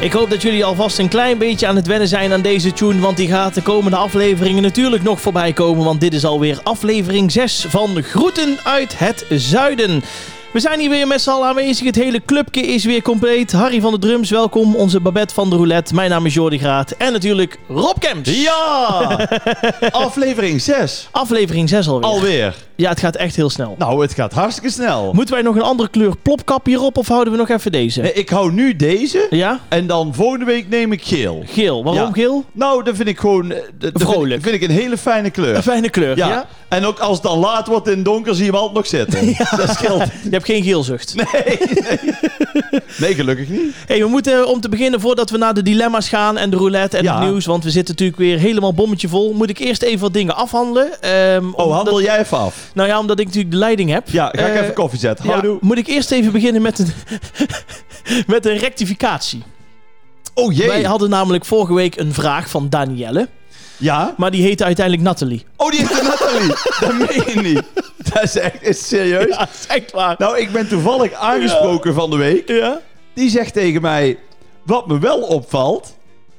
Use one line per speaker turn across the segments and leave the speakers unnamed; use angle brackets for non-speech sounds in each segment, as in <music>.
Ik hoop dat jullie alvast een klein beetje aan het wennen zijn aan deze tune. Want die gaat de komende afleveringen natuurlijk nog voorbij komen. Want dit is alweer aflevering 6 van Groeten uit het Zuiden. We zijn hier weer met z'n allen aanwezig. Het hele clubje is weer compleet. Harry van de Drums, welkom. Onze Babette van de Roulette. Mijn naam is Jordi Graat. En natuurlijk Rob Kemps.
Ja! <laughs> Aflevering 6.
Aflevering 6 alweer.
Alweer.
Ja, het gaat echt heel snel.
Nou, het gaat hartstikke snel.
Moeten wij nog een andere kleur plopkap hierop of houden we nog even deze?
Nee, ik hou nu deze
Ja?
en dan volgende week neem ik geel.
Geel. Waarom
Ja.
geel?
Nou, dat vind ik gewoon... eh, dat- Dat vind,
Vrolijk.
ik- vind ik een hele fijne
Een
kleur.
fijne kleur. Ja.
Ja. En ook als het dan laat wordt in het donker, zie je hem altijd nog <laughs> zitten. Dat scheelt.
<laughs> Je hebt geen geelzucht.
Nee, gelukkig niet.
Hey, we moeten eh, om te beginnen, voordat we naar de dilemma's gaan en de roulette en
Ja.
het nieuws, want we zitten natuurlijk weer helemaal bommetje vol, moet ik eerst even wat dingen afhandelen. Ehm,
Oh,
omdat-
handel jij even af.
Nou ja, omdat ik natuurlijk de leiding heb.
Ja, ga ik
Eh,
even koffie zetten.
ja,
Houdoe.
moet ik eerst even beginnen met een, <laughs> met een rectificatie.
Oh jee.
Wij hadden namelijk vorige week een vraag van Danielle,
Ja?
maar die heette uiteindelijk Nathalie.
Oh, die heeft de Nathalie. <laughs> dat meen je niet. Dat is echt is serieus.
<laughs> Ja, dat is echt waar.
Nou, ik ben toevallig aangesproken van de week.
ja.
Die zegt tegen mij: Wat me wel opvalt.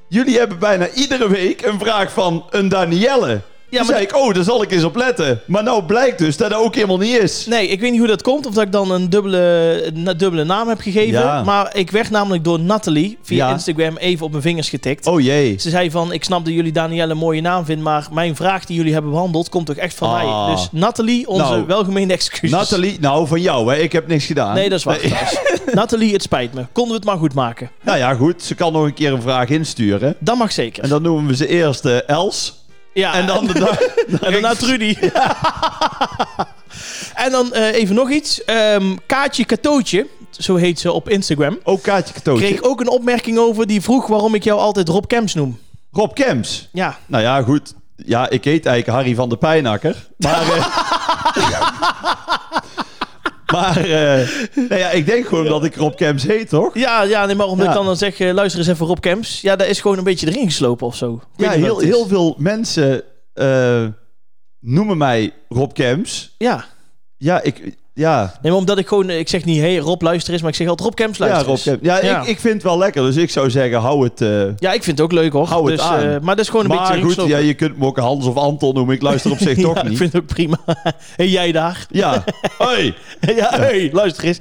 Jullie hebben bijna iedere week een vraag van een Danielle. Ja,
maar
maar zei ik, oh, daar zal ik eens op letten. Maar nou blijkt dus dat dat ook helemaal niet is.
Nee, ik weet niet hoe dat komt. Of dat ik dan een dubbele, een dubbele naam heb gegeven.
Ja.
Maar ik werd namelijk door Nathalie via
Ja.
Instagram even op mijn vingers getikt.
Oh jee.
Ze zei van, ik snap dat jullie Danielle een mooie naam vinden, maar mijn vraag die jullie hebben behandeld komt toch echt van
Ah.
mij. Dus Nathalie, onze
Nou.
welgemeende excuses.
Nathalie, nou van jou, hè. ik heb niks gedaan.
Nee, dat is waar. trouwens. Nathalie, het spijt me. Konden we het maar goed maken.
<laughs> Nou ja, goed, ze kan nog een keer een vraag insturen.
Dat mag zeker.
En dan noemen we ze eerst eh, Els.
ja,
En dan de
<laughs>
dag. <laughs>
en daarna Trudy. <laughs> en dan eh, even nog iets. Ehm, Kaatje Katootje, zo heet ze op Instagram.
Ook Oh, Kaatje Katootje.
kreeg ook een opmerking over die vroeg waarom ik jou altijd Rob Kemps noem.
Rob Kems.
Ja,
Nou ja, goed. Ja, ik heet eigenlijk Harry van de Pijnakker. Maar.
<laughs>
eh, maar. eh, nou ja, ik denk gewoon dat ik Rob Kemps heet, toch?
ja, ja nee, maar omdat
Ja.
ik dan, dan zeg, eh, luister eens even Rob Kemps. Ja, daar is gewoon een beetje erin geslopen of zo. Ik weet
Ja,
niet wat
heel,
het is.
heel veel mensen eh, noemen mij Rob Kemps.
Ja,
Ja, ik. Ja,
nee, maar omdat ik gewoon, eh, ik zeg niet, hey Rob luister eens, maar ik zeg altijd Rob Kemps
ja,
luister
Rob
eens.
Kemps. Ja,
Ja.
Ik, ik vind het wel lekker. Dus ik zou zeggen, hou het. eh,
Ja, ik vind het ook leuk hoor.
Hou het
dus,
aan.
eh, maar dat is gewoon een beetje
maar
erin
goed, ja,
geslopen. <laughs>
je kunt me ook Hans of Anton noemen. Ik luister op zich
Ja,
toch
ik
niet.
vind het ook prima. <laughs> hey, jij daar. <laughs>
Ja. Hoi.
ja, hey, luister eens.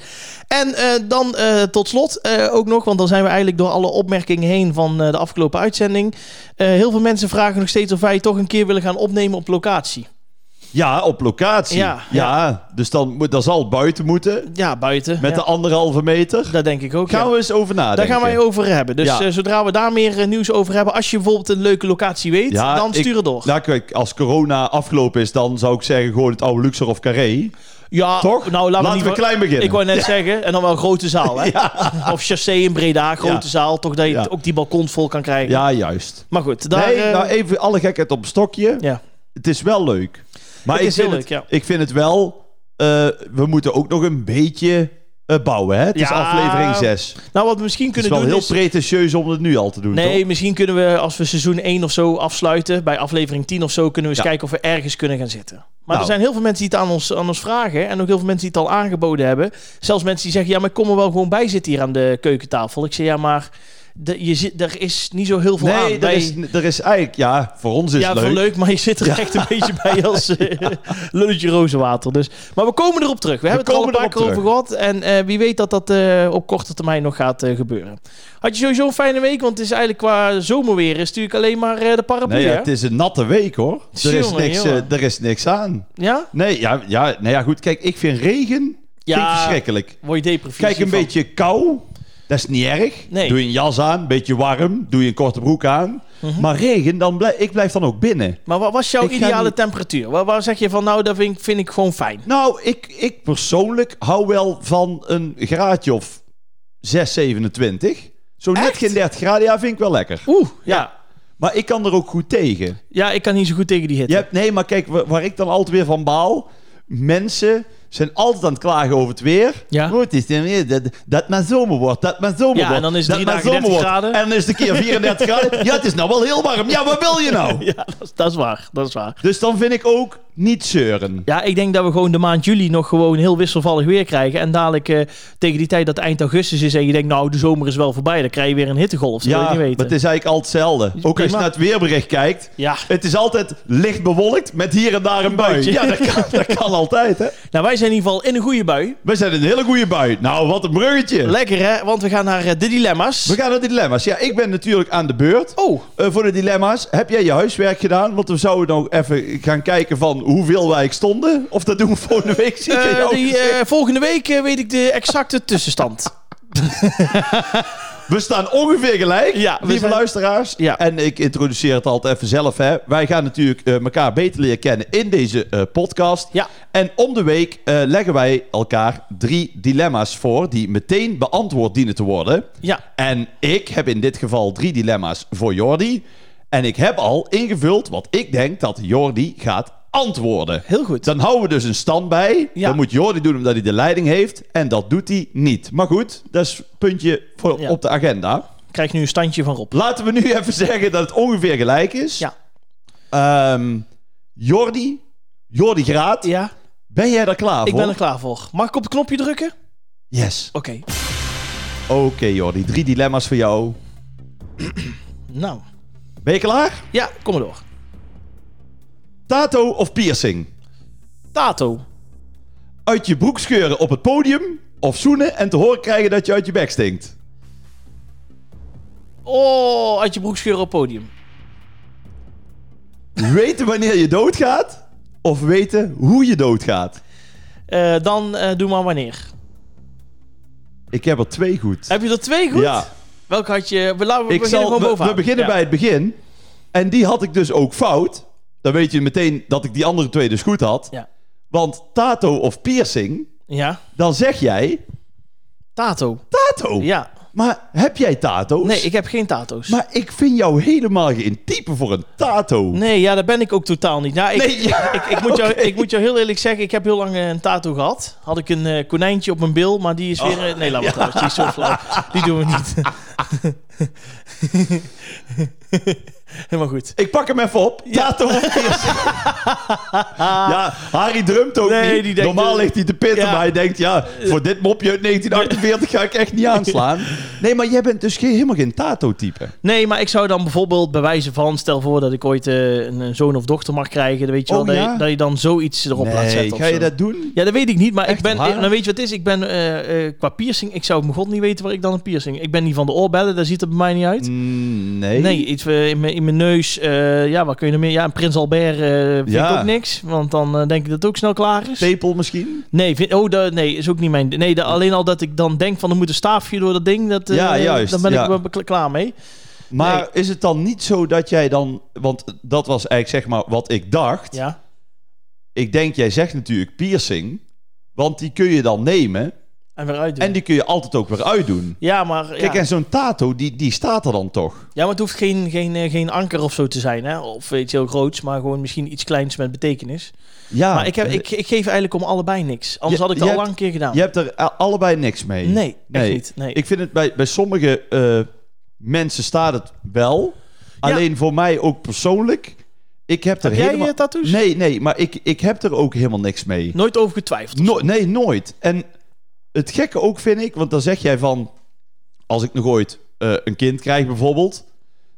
En eh, dan eh, tot slot eh, ook nog, want dan zijn we eigenlijk door alle opmerkingen heen van eh, de afgelopen uitzending. Eh, heel veel mensen vragen nog steeds of wij toch een keer willen gaan opnemen op locatie.
Ja, op locatie.
Ja,
Ja, dus dan, moet- dan zal het buiten moeten.
Ja, buiten.
Met
ja.
de anderhalve meter.
Dat denk ik ook.
Gaan
ja.
we eens over nadenken.
Daar gaan wij over hebben. Dus
Ja.
eh, zodra we daar meer eh, nieuws over hebben, als je bijvoorbeeld een leuke locatie weet,
Ja,
dan
ik-
stuur het door.
Nou, kijk, als corona afgelopen is, dan zou ik zeggen gewoon het oude Luxor of Carré.
ja,
Toch?
Nou, laten
Laten
we, niet
we klein beginnen.
Ik wou net zeggen, en dan wel een grote zaal.
<laughs>
Hè? Of chassé in Breda, grote
Ja.
zaal. Toch dat je
Ja.
t- ook die balkons vol kan krijgen.
Ja, juist.
Maar goed, daar...
nee,
eh,
nou even alle gekheid op een stokje.
ja.
Het is wel leuk. Maar
Het
ik
is
vind
heel
het,
leuk,
Ik vind het wel... eh, we moeten ook nog een beetje eh, bouwen, hè? Het
Ja.
is aflevering 6.
Nou, wat we misschien
Het is
kunnen
wel
doen
heel
is...
pretentieus om het nu al te doen,
Nee,
toch?
misschien kunnen we als we seizoen 1 of zo afsluiten, bij aflevering 10 of zo, kunnen we eens
Ja.
kijken of we ergens kunnen gaan zitten. Maar er
Nou.
zijn heel veel mensen die het aan ons, aan ons vragen en ook heel veel mensen die het al aangeboden hebben. Zelfs mensen die zeggen, ja, maar ik kom er wel gewoon bij zitten hier aan de keukentafel. Ik zeg, ja, maar de, je zit, er is niet zo heel veel aan.
Nee, er
Wij-
is, er is eigenlijk... Ja, voor ons is
ja,
het
wel
leuk.
leuk, maar je zit er echt een beetje bij als
<laughs>
eh, lulletje rozenwater. Dus. Maar we komen erop terug. We, hebben het er al een
komen
paar keer
erop
over gehad. En eh, wie weet dat dat eh, op korte termijn nog gaat eh, gebeuren. Had je sowieso een fijne week, want het is eigenlijk qua zomerweer is natuurlijk alleen maar eh, de paraplu.
Nee, ja,
hè?
het is een natte week, hoor. Er is,
Jongen,
niks, eh,
jongen.
er is niks aan.
ja?
Nee, ja, ja, nou ja, goed. Kijk, ik vind regen vind ik
Ja.
verschrikkelijk.
Word je depressief?
Kijk, een
hiervan?
beetje kou, dat is niet erg.
Nee.
Doe je een jas aan, een beetje warm. Doe je een korte broek aan.
Mhm.
Maar regen, dan blij- ik blijf dan ook binnen.
Maar wat was jouw
Ik ga
ideale
niet-
temperatuur? Waar, waar zeg je van, nou, dat vind ik, vind ik gewoon fijn.
Nou, ik, ik persoonlijk hou wel van een graadje of 6, 27. Zo net
Echt?
geen 30 graden, ja, vind ik wel lekker.
Oeh, ja.
Ja. Maar ik kan er ook goed tegen.
Ja, ik kan niet zo goed tegen die hitte.
Je hebt, nee, maar kijk, wa- waar ik dan altijd weer van baal. Mensen zijn altijd aan het klagen over het weer.
Ja.
Oh, het is weer- dat, dat maar zomer wordt, dat maar zomer
Ja, en
wordt.
dan is het
dat
drie
maar
dagen
zomer
30
wordt.
graden.
En dan is het
<laughs>
een keer 34 graden. Ja, het is nou wel heel warm. Ja, wat wil je nou?
Ja, dat is, <laughs> dat is waar. Dat is waar.
Dus dan vind ik ook niet zeuren.
Ja, ik denk dat we gewoon de maand juli nog gewoon heel wisselvallig weer krijgen. En dadelijk eh, tegen die tijd dat eind augustus is en je denkt, nou, de zomer is wel voorbij. Dan krijg je weer een hittegolf. Dat wil
Ja,
je
maar
niet
het is
weten.
eigenlijk altijd hetzelfde. Ook als je
prima.
naar het weerbericht kijkt.
Ja,
Het is altijd licht bewolkt met hier en daar een bui.
Buitje.
Ja, dat
<laughs>
kan, dat kan altijd, hè?
nou wij zijn in ieder geval in een goede bui.
We zijn een hele goede bui. Nou, wat een bruggetje.
Lekker hè, want we gaan naar eh, de dilemma's.
We gaan naar de dilemma's. Ja, ik ben natuurlijk aan de beurt.
Oh,
Eh, voor de dilemma's, heb jij je huiswerk gedaan? Want we zouden nog even gaan kijken van hoeveel wij stonden. Of dat doen we volgende week. Zie ik aan
eh,
jou
die,
gezegd.
eh, volgende week eh, weet ik de exacte tussenstand.
We staan ongeveer gelijk,
Ja, we
lieve
zijn-
luisteraars.
Ja.
En ik introduceer het altijd even zelf. Hè. Wij gaan natuurlijk eh, elkaar beter leren kennen in deze eh, podcast.
Ja.
En om de week eh, leggen wij elkaar drie dilemma's voor... die meteen beantwoord dienen te worden.
Ja,
En ik heb in dit geval drie dilemma's voor Jordi. En ik heb al ingevuld wat ik denk dat Jordi gaat antwoorden.
heel goed.
Dan houden we dus een stand bij.
Ja.
Dan moet Jordi doen omdat hij de leiding heeft. En dat doet hij niet. Maar goed, dat is puntje voor,
Ja.
op de agenda.
Ik krijg nu een standje van Rob.
Laten we nu even <laughs> zeggen dat het ongeveer gelijk is.
Ja.
Ehm, Jordi, Jordi Graat,
Ja,
ben jij daar klaar
ik
voor?
ben er klaar voor. Mag ik op het knopje drukken? Oké.
Yes. Oké Jordi, drie dilemma's voor jou.
Nou,
Ben je klaar?
ja, kom maar door.
Tato of piercing?
Tato.
uit je broek scheuren op het podium of zoenen en te horen krijgen dat je uit je bek stinkt.
Oh, uit je broek scheuren op podium.
Weten wanneer je doodgaat of weten hoe je doodgaat.
Eh, dan eh, doe maar wanneer.
Ik heb er twee goed.
Heb je er twee goed?
Ja,
Welke had je? We, laten, Eh, we
ik
beginnen
zal,
gewoon
we,
bovenaan.
we beginnen
Ja.
bij het begin. En die had ik dus ook fout. Dan weet je meteen dat ik die andere twee dus goed had.
Ja.
Want tato of piercing,
Ja.
dan zeg jij
Tato.
tato.
Ja.
Maar heb jij tato's?
Nee, ik heb geen tato's.
Maar ik vind jou helemaal geen type voor een tato.
Nee, ja, dat ben ik ook totaal niet. Nou, ik,
Nee, <laughs> ja.
ik, ik, moet jou,
Oké.
ik moet jou heel eerlijk zeggen, ik heb heel lang eh, een tattoo gehad. Had ik een eh, konijntje op mijn bil, maar die
Oh.
is weer... eh, nee,
<laughs>
laat maar trouwens, die is zo flauw. Die doen we niet. <laughs> Helemaal goed.
Ik pak hem even op. Tato
<laughs>
of piercing? ja, Harry drumt ook
Nee,
niet.
die denkt- eh,
Normaal ligt hij te pitten,
Ja.
maar hij denkt... ja, voor dit
<laughs>
mopje uit 1948 ga ik echt niet aanslaan. Nee, maar jij bent dus geen- helemaal geen tato-type.
Nee, maar ik zou dan bijvoorbeeld bij wijze van... Stel voor dat ik ooit eh, een, een zoon of dochter mag krijgen. Dan weet je wel
Oh,
dat,
ja?
je, dat je dan zoiets erop laat zetten. of
ga je
zo.
dat doen?
Ja, dat weet ik niet, maar
Echt
ik ben,
waar?
dan weet je wat het is? Ik ben eh, eh, qua piercing, ik zou mijn god niet weten waar ik dan een piercing... Ik ben niet van de oorbellen, daar ziet het bij mij niet uit.
Mm, nee.
Nee, iets eh, in mijn, in mijn neus. eh, ja, wat kun je er meer? Ja, een Prins Albert eh, vind
Ja.
ik ook niks. Want dan eh, denk ik dat het ook snel klaar is.
Tepel misschien?
Nee, vind, oh, dat, nee, is ook niet mijn... Nee, dat- alleen al dat ik dan denk van er moet een staafje door dat ding. Dat, eh,
Ja, juist,
Dan ben
ja.
ik wel bekla- klaar mee.
Maar is het dan niet zo dat jij dan... want dat was eigenlijk zeg maar wat ik dacht.
Ja.
Ik denk, jij zegt natuurlijk piercing... want die kun je dan nemen...
En weer uitdoen.
en die kun je altijd ook weer uitdoen.
Ja, maar, ja.
Kijk, en zo'n tato, die, die staat er dan toch?
ja, maar het hoeft geen, geen, eh, geen anker of zo te zijn. Hè? Of weet je, heel groots, maar gewoon misschien iets kleins met betekenis.
Ja,
maar ik, heb,
eh,
ik, ik geef eigenlijk om allebei niks. Anders
Je-
had ik het
je
al
hebt-
lang een keer gedaan.
Je hebt er a- allebei niks mee.
Nee, echt niet. Nee.
Ik vind het bij, bij sommige eh, mensen staat het wel. Alleen voor mij ook persoonlijk. Ik heb er
Heb jij
helemaal...
eh, tattoos?
Nee, nee, maar ik, ik heb er ook helemaal niks mee.
Nooit over getwijfeld.
No- nee, nooit. En het gekke ook vind ik, want dan zeg jij van... Als ik nog ooit eh, een kind krijg bijvoorbeeld...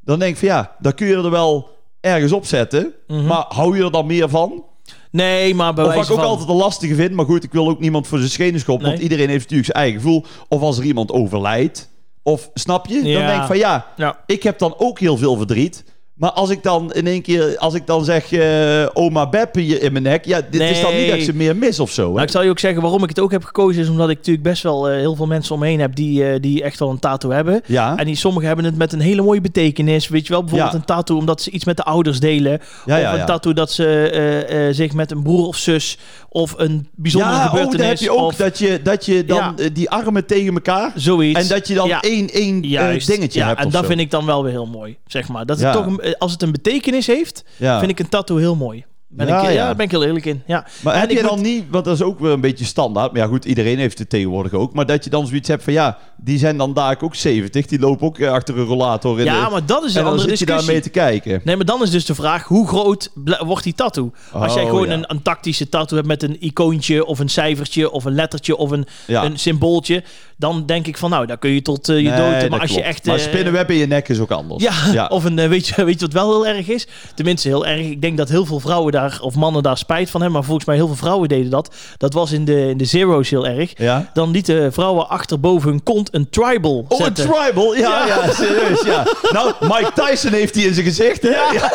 Dan denk ik van ja, dan kun je er wel ergens op zetten.
Mhm.
Maar hou je er dan meer van?
Nee, maar bij
Of wat
wijze
ik ook
van...
altijd een lastige vind, maar goed, ik wil ook niemand voor zijn schenen schoppen,
Nee.
want iedereen heeft natuurlijk zijn eigen gevoel. Of als er iemand overlijdt, of snap je? Dan
Ja.
denk ik van ja,
Ja.
ik heb dan ook heel veel verdriet. Maar als ik dan in één keer, als ik dan zeg, eh, oma Beb hier in mijn nek, ja, dit is dan niet
Nee.
dat ik ze meer mis of zo. Hè?
Nou, ik zal je ook zeggen waarom ik het ook heb gekozen. Is omdat ik natuurlijk best wel eh, heel veel mensen omheen heb die, eh, die echt wel een tattoo hebben.
Ja,
En die sommigen hebben het met een hele mooie betekenis. Weet je wel, bijvoorbeeld
Ja.
een tattoo omdat ze iets met de ouders delen.
ja,
of
ja.
een
ja.
tattoo dat ze eh, eh, zich met een broer of zus of een bijzondere
ja, oh,
gebeurtenis.
dan heb je ook
of
dat, je, dat je dan
Ja.
eh, die armen tegen elkaar
zoiets.
en dat je dan
Ja.
één, één eh,
Juist.
dingetje
ja,
hebt
En
of
dat
zo.
vind ik dan wel weer heel mooi, zeg maar. Dat het
Ja.
toch, een- eh, als het een betekenis heeft,
ja.
vind ik een tattoo heel mooi. Ben
Ja,
ik, ja,
ja.
daar ben ik heel eerlijk in. Ja.
Maar
En
heb
ik
je
moet-
dan niet, want dat is ook weer een beetje standaard. Maar ja, goed, iedereen heeft het tegenwoordig ook. Maar dat je dan zoiets hebt van ja, die zijn dan daar ook 70. Die lopen ook eh, achter een rollator. In
ja,
de,
maar dat is
en
een
dan
andere
zit je daar
discussie.
mee te kijken.
Nee, maar dan is dus de vraag, hoe groot ble- wordt die tattoo? Als jij
Oh,
gewoon
ja.
een, een tactische tattoo hebt met een icoontje of een cijfertje of een lettertje of een,
Ja.
een symbooltje, dan denk ik van nou, dan kun je tot eh, je
Nee,
dood. Maar
dat
als je
klopt.
echt...
Maar
eh,
spinnenweb in je nek is ook anders.
Ja,
ja.
of een, eh, weet, je, <laughs> weet je wat wel heel erg is? Tenminste, heel erg. Ik denk dat heel veel vrouwen daar, of mannen daar spijt van hebben. Maar volgens mij heel veel vrouwen deden dat. Dat was in de, in de zero's heel erg.
Ja?
Dan lieten vrouwen achterboven hun kont een tribal
Oh, een
zetten.
tribal. Ja, ja. serieus. Ja. Nou, Mike Tyson heeft die in zijn gezicht. Hè? Ja.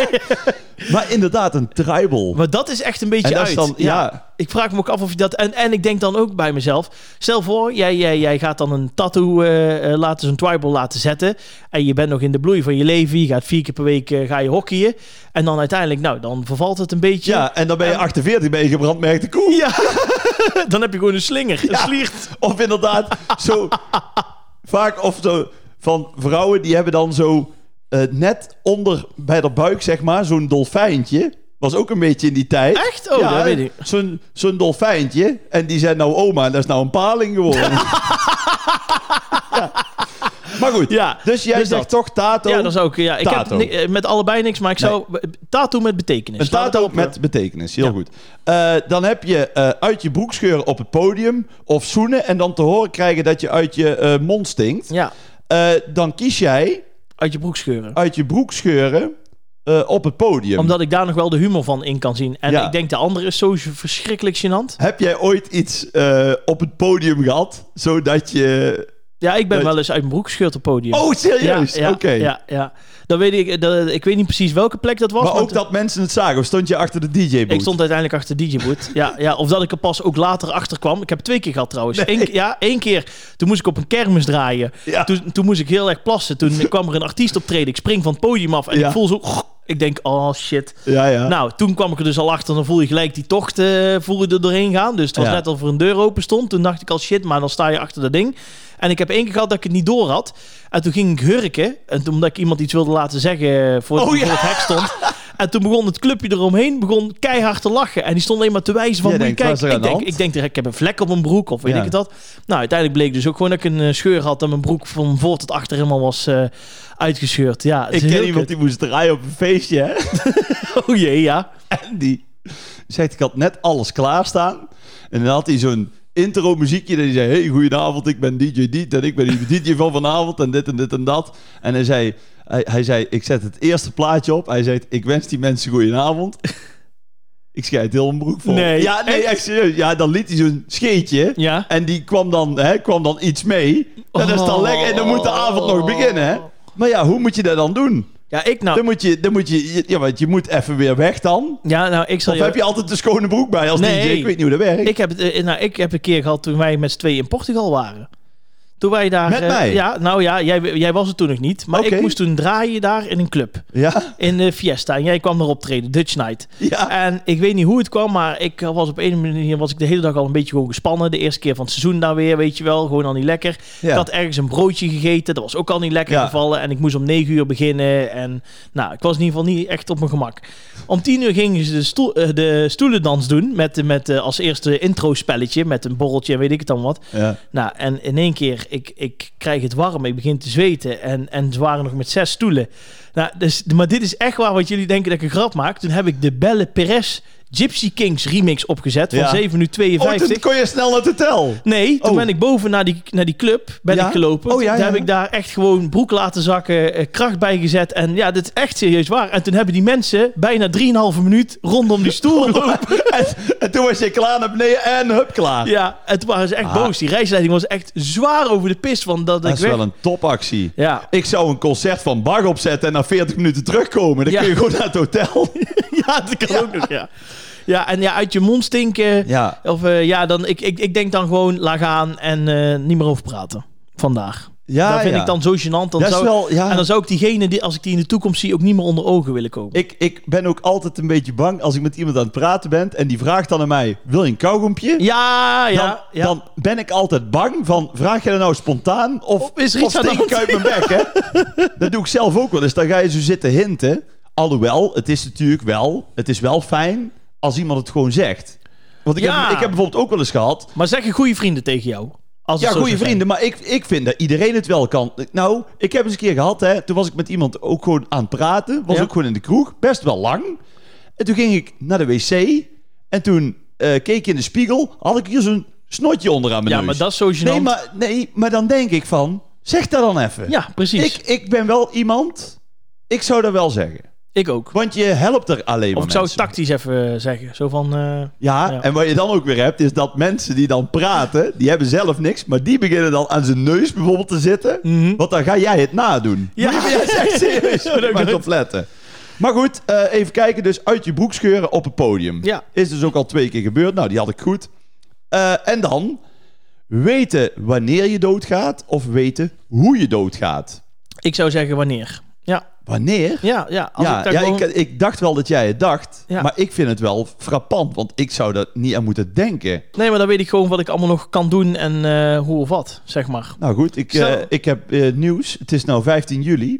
Maar inderdaad, een tribal.
maar dat is echt een beetje
En dat
uit.
is dan, ja.
Ik vraag me ook af of je dat... En, en ik denk dan ook bij mezelf... Stel voor, jij, jij, jij gaat dan een tattoo eh, eh, laten... Zo'n tribal laten zetten. En je bent nog in de bloei van je leven. Je gaat vier keer per week eh, ga je hockeyen. En dan uiteindelijk... Nou, dan vervalt het een beetje.
ja, en dan ben je
En-
48, ben je gebrandmerkte
<laughs>
koe.
Dan heb je gewoon een slinger. Een sliert.
Of inderdaad, zo vaak of zo van vrouwen die hebben dan zo eh, net onder bij de buik, zeg maar, zo'n dolfijntje. Was ook een beetje in die tijd.
Echt? Oh, dat weet ik.
Zo'n zo'n dolfijntje. En die zijn nou oma en dat is nou een
<laughs>
paling geworden. ja. Maar goed,
Ja,
dus jij
dus
zegt
dat.
toch tato.
Ja, dat is ook. Ja, ik
Tato.
heb ni- eh, met allebei niks, maar ik zou. Tattoo met betekenis.
Een
Laat het
tato
op,
met betekenis, heel
Ja.
goed. Eh, dan heb je eh, uit je broek scheuren op het podium of zoenen en dan te horen krijgen dat je uit je eh, mond stinkt.
eh, Ja,
Eh, dan kies jij
uit je broek scheuren.
uit je broek scheuren eh, op het podium.
Omdat ik daar nog wel de humor van in kan zien. En
Ja.
ik denk de andere is zo verschrikkelijk gênant.
Heb jij ooit iets eh, op het podium gehad, zodat je...
Ja, ik ben
Dat-
wel eens uit mijn broek gescheurd op het podium.
Oh, serieus?
Ja, ja,
Oké.
Ja, ja. Dan weet ik, eh, dat, ik weet niet precies welke plek dat was.
Maar
want
ook dat mensen het zagen, of stond je achter de DJ-boot?
Ik stond uiteindelijk achter DJ Boot. ja, ja, of dat ik er pas ook later achter kwam. Ik heb het twee keer gehad trouwens. Eén, ke- ja, één keer. Toen moest ik op een kermis draaien.
Ja.
Toen, toen moest ik heel erg plassen.
<laughs>
Toen kwam er een artiest optreden. Ik spring van het podium af en
Ja.
ik voel zo... Ik denk, oh shit.
Ja, ja.
Nou, toen kwam ik er dus al achter. Dan voel je gelijk die tocht eh, voel je er doorheen gaan. Dus het was
Ja.
net alsof er een deur open stond. Toen dacht ik al shit, maar dan sta je achter dat ding. En ik heb één keer gehad dat ik het niet door had. En toen ging ik hurken. En toen, omdat ik iemand iets wilde laten zeggen eh, voor,
Oh, ja.
voor het hek
<laughs>
stond. En toen begon het clubje eromheen begon keihard te lachen. En die stond alleen maar te wijzen van,
Jij
moet je
denkt, wat is er
kijken.
aan
Ik
de
denk,
hand?
ik denk, direct, ik heb een vlek op mijn broek of weet
Ja.
ik het dat. Nou, uiteindelijk bleek dus ook gewoon dat ik een eh, scheur had. En mijn broek van voor tot achter helemaal was eh, uitgescheurd. Ja, het
ik
is heel
ken iemand
kut.
die moest draaien op een feestje, hè?
<laughs> Oh jee, ja.
En die zegt, ik had net alles klaarstaan. En dan had hij zo'n intro muziekje. En die zei, hey, goedenavond, ik ben DJ Diet. En ik ben die <laughs> DJ van vanavond. En dit en dit en dat. En hij zei, hij, hij zei ik zet het eerste plaatje op. Hij zei, ik wens die mensen goedenavond. Ik scheid heel een broek vol.
Nee,
ja, nee, echt serieus. Ja, dan liet hij zo'n scheetje.
Ja.
En die kwam dan, hè, kwam dan iets mee. En, dat is dan
Oh.
lekker. en dan moet de avond nog beginnen. Hè? Maar ja, hoe moet je dat dan doen?
Ja, ik nou...
Dan moet je, dan moet je, ja, want je moet even weer weg dan.
Ja, nou, ik zal
Of
je-
heb je altijd de schone broek bij als
Nee.
DJ? Ik weet niet hoe dat werkt.
Ik heb, het, eh, nou, ik heb een keer gehad toen wij met z'n tweeën in Portugal waren. Toen wij daar...
Met
eh,
mij?
Ja, nou ja, jij, jij was het toen nog niet. Maar
Oké.
ik moest toen draaien daar in een club.
Ja?
In de Fiesta. En jij kwam daar optreden, Dutch Night.
Ja.
En ik weet niet hoe het kwam, maar ik eh, was op een manier was ik de hele dag al een beetje gewoon gespannen. De eerste keer van het seizoen daar weer, weet je wel. Gewoon al niet lekker.
Ja.
Ik had ergens een broodje gegeten. Dat was ook al niet lekker
Ja.
gevallen. En ik moest om negen uur beginnen. En nou, ik was in ieder geval niet echt op mijn gemak. Om tien uur gingen ze de, stoel, eh, de stoelendans doen. Met, met eh, als eerste intro-spelletje. Met een borreltje en weet ik het dan wat.
Ja.
Nou, en in één keer, ik, ik krijg het warm, ik begin te zweten. En, en ze waren nog met zes stoelen. Nou, dus, maar dit is echt waar wat jullie denken dat ik een grap maak. Toen heb ik de Belle Perez Gypsy Kings remix opgezet van
Ja.
7 uur
Oh,
52.
toen kon je snel naar de tel.
Nee, toen
Oh.
ben ik boven naar die, naar die club ben
Ja?
ik gelopen.
Oh, ja,
Toen
ja.
heb ik daar echt gewoon broek laten zakken, eh, kracht bij gezet. En ja, dit is echt serieus waar. En toen hebben die mensen bijna 3,5 minuut rondom die
<laughs>
stoel gelopen.
en, en toen was je klaar naar beneden en hup, klaar.
Ja, en toen waren ze echt
Ah.
boos. Die reisleiding was echt zwaar over de pis van dat,
Dat
ik
is
weg...
wel een topactie.
Ja,
Ik zou een concert van Bach opzetten en na 40 minuten terugkomen. Dan
Ja.
kun je gewoon naar het
<laughs>
hotel.
Ja, dat kan ook nog, ja. Ja, en ja, uit je mond stinken.
Ja.
Of eh, ja, dan, ik, ik, ik denk dan gewoon, laat gaan en eh, niet meer over praten. Vandaag.
Ja,
dat vind
ja.
ik dan zo gênant. Dan
Dat is
zou,
wel- ja.
En dan zou ik diegene, die, als ik die in de toekomst zie, ook niet meer onder ogen willen komen.
Ik, ik ben ook altijd een beetje bang als ik met iemand aan het praten ben... en die vraagt dan aan mij, wil je een kauwgompje?
ja, ja,
dan,
ja.
dan ben ik altijd bang van, vraag je dat nou spontaan of,
Of is er iets
of
aan de
steek ik uit mijn bek, hè? <laughs> Dat doe ik zelf ook wel eens. Dan ga je zo zitten hinten. Alhoewel, het is natuurlijk wel, het is wel fijn als iemand het gewoon zegt. Want ik,
Ja.
heb, ik heb bijvoorbeeld ook wel eens gehad.
Maar zeggen goede vrienden tegen jou. Als
Ja,
het zo
goede
zou zijn.
vrienden, maar ik, ik vind dat iedereen het wel kan. Nou, ik heb eens een keer gehad, hè, toen was ik met iemand ook gewoon aan het praten. Was
Ja.
ook gewoon in de kroeg, best wel lang. En toen ging ik naar de wc en toen eh, keek ik in de spiegel. Had ik hier zo'n snotje onderaan mijn
Ja,
neus.
maar dat is zo gênant.
Nee maar, nee, maar dan denk ik van, zeg dat dan even.
Ja, precies.
Ik,
Ik,
ik ben wel iemand, ik zou dat wel zeggen.
ook.
Want je helpt er alleen maar
Of ik zou het
mensen.
tactisch even eh, zeggen. Zo van... eh,
Ja,
Ja.
en wat je dan ook weer hebt, is dat mensen die dan praten, die hebben zelf niks, maar die beginnen dan aan zijn neus bijvoorbeeld te zitten.
Mhm.
Want dan ga jij het nadoen.
Ja.
Maar jij zegt
<laughs>
serieus,
Ja, dat
moet maar
klopt.
op letten. Maar goed, eh, even kijken. Dus uit je broek scheuren op het podium.
Ja.
Is dus ook al twee keer gebeurd. Nou, die had ik goed. Eh, en dan weten wanneer je doodgaat of weten hoe je doodgaat.
ik zou zeggen wanneer. Ja,
Wanneer?
ja, ja. Als
ja,
ik daar
ja
gewoon-
ik, ik dacht wel dat jij het dacht,
Ja.
maar ik vind het wel frappant, want ik zou daar niet aan moeten denken.
Nee, maar dan weet ik gewoon wat ik allemaal nog kan doen en eh, hoe of wat, zeg <laughs> maar.
Nou goed, ik,
Zo.
eh, ik heb eh, nieuws. Het is nou 15
<laughs>
juli.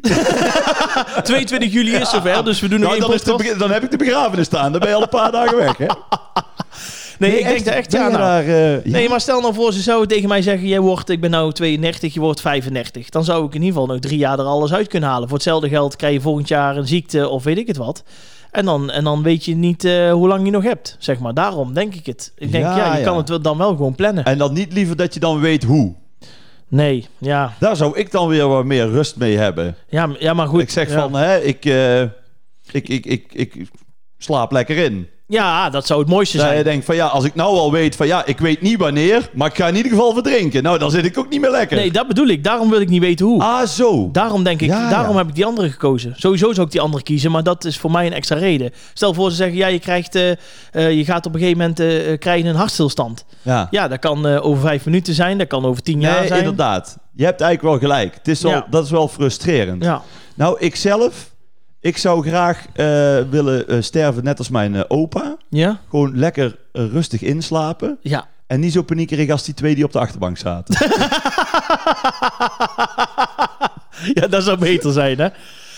22 juli is zover, dus we doen nog
Nou,
één
dan, is de
podcast.
beg- dan heb ik de begrafenis staan. Dan ben je al een paar <laughs> dagen weg, hè?
Nee, ik denk er echt
ben
ja
je
nou.
daar, eh, ja.
Nee, maar stel nou voor, ze zouden tegen mij zeggen... Jij wordt, ik ben nou 32, je wordt 35. Dan zou ik in ieder geval nog drie jaar er alles uit kunnen halen. Voor hetzelfde geld krijg je volgend jaar een ziekte of weet ik het wat. En dan, en dan weet je niet eh, hoe lang je nog hebt, zeg maar. Daarom denk ik het. Ik denk,
Ja,
ja, je
ja.
kan het wel- dan wel gewoon plannen.
En dan niet liever dat je dan weet hoe.
Nee, ja.
Daar zou ik dan weer wat meer rust mee hebben.
Ja, m- ja maar goed.
Ik zeg
ja.
van, hè, ik, eh, ik, ik, ik, ik slaap lekker in.
Ja, dat zou het mooiste
Dat je
zijn.
denkt van, ja, als ik nou al weet van, ja, ik weet niet wanneer, maar ik ga in ieder geval verdrinken. Nou, dan zit ik ook niet meer lekker.
Nee, dat bedoel ik. Daarom wil ik niet weten hoe.
Ah, zo.
Daarom denk ik,
Ja,
daarom
ja.
heb ik die andere gekozen. Sowieso zou ik die andere kiezen, maar dat is voor mij een extra reden. Stel voor ze zeggen, ja, je krijgt, eh, eh, je gaat op een gegeven moment eh, eh, krijg je een hartstilstand.
ja.
Ja, dat kan eh, over vijf minuten zijn, dat kan over tien jaar
nee,
zijn.
inderdaad. Je hebt eigenlijk wel gelijk. Het is wel,
Ja.
Dat is wel frustrerend.
Ja,
Nou, ik zelf, ik zou graag eh, willen eh, sterven net als mijn eh, opa.
ja,
Gewoon lekker eh, rustig inslapen.
ja. <laughs>
En niet zo paniekerig als die twee die op de achterbank zaten.
ja, dat zou beter zijn, hè?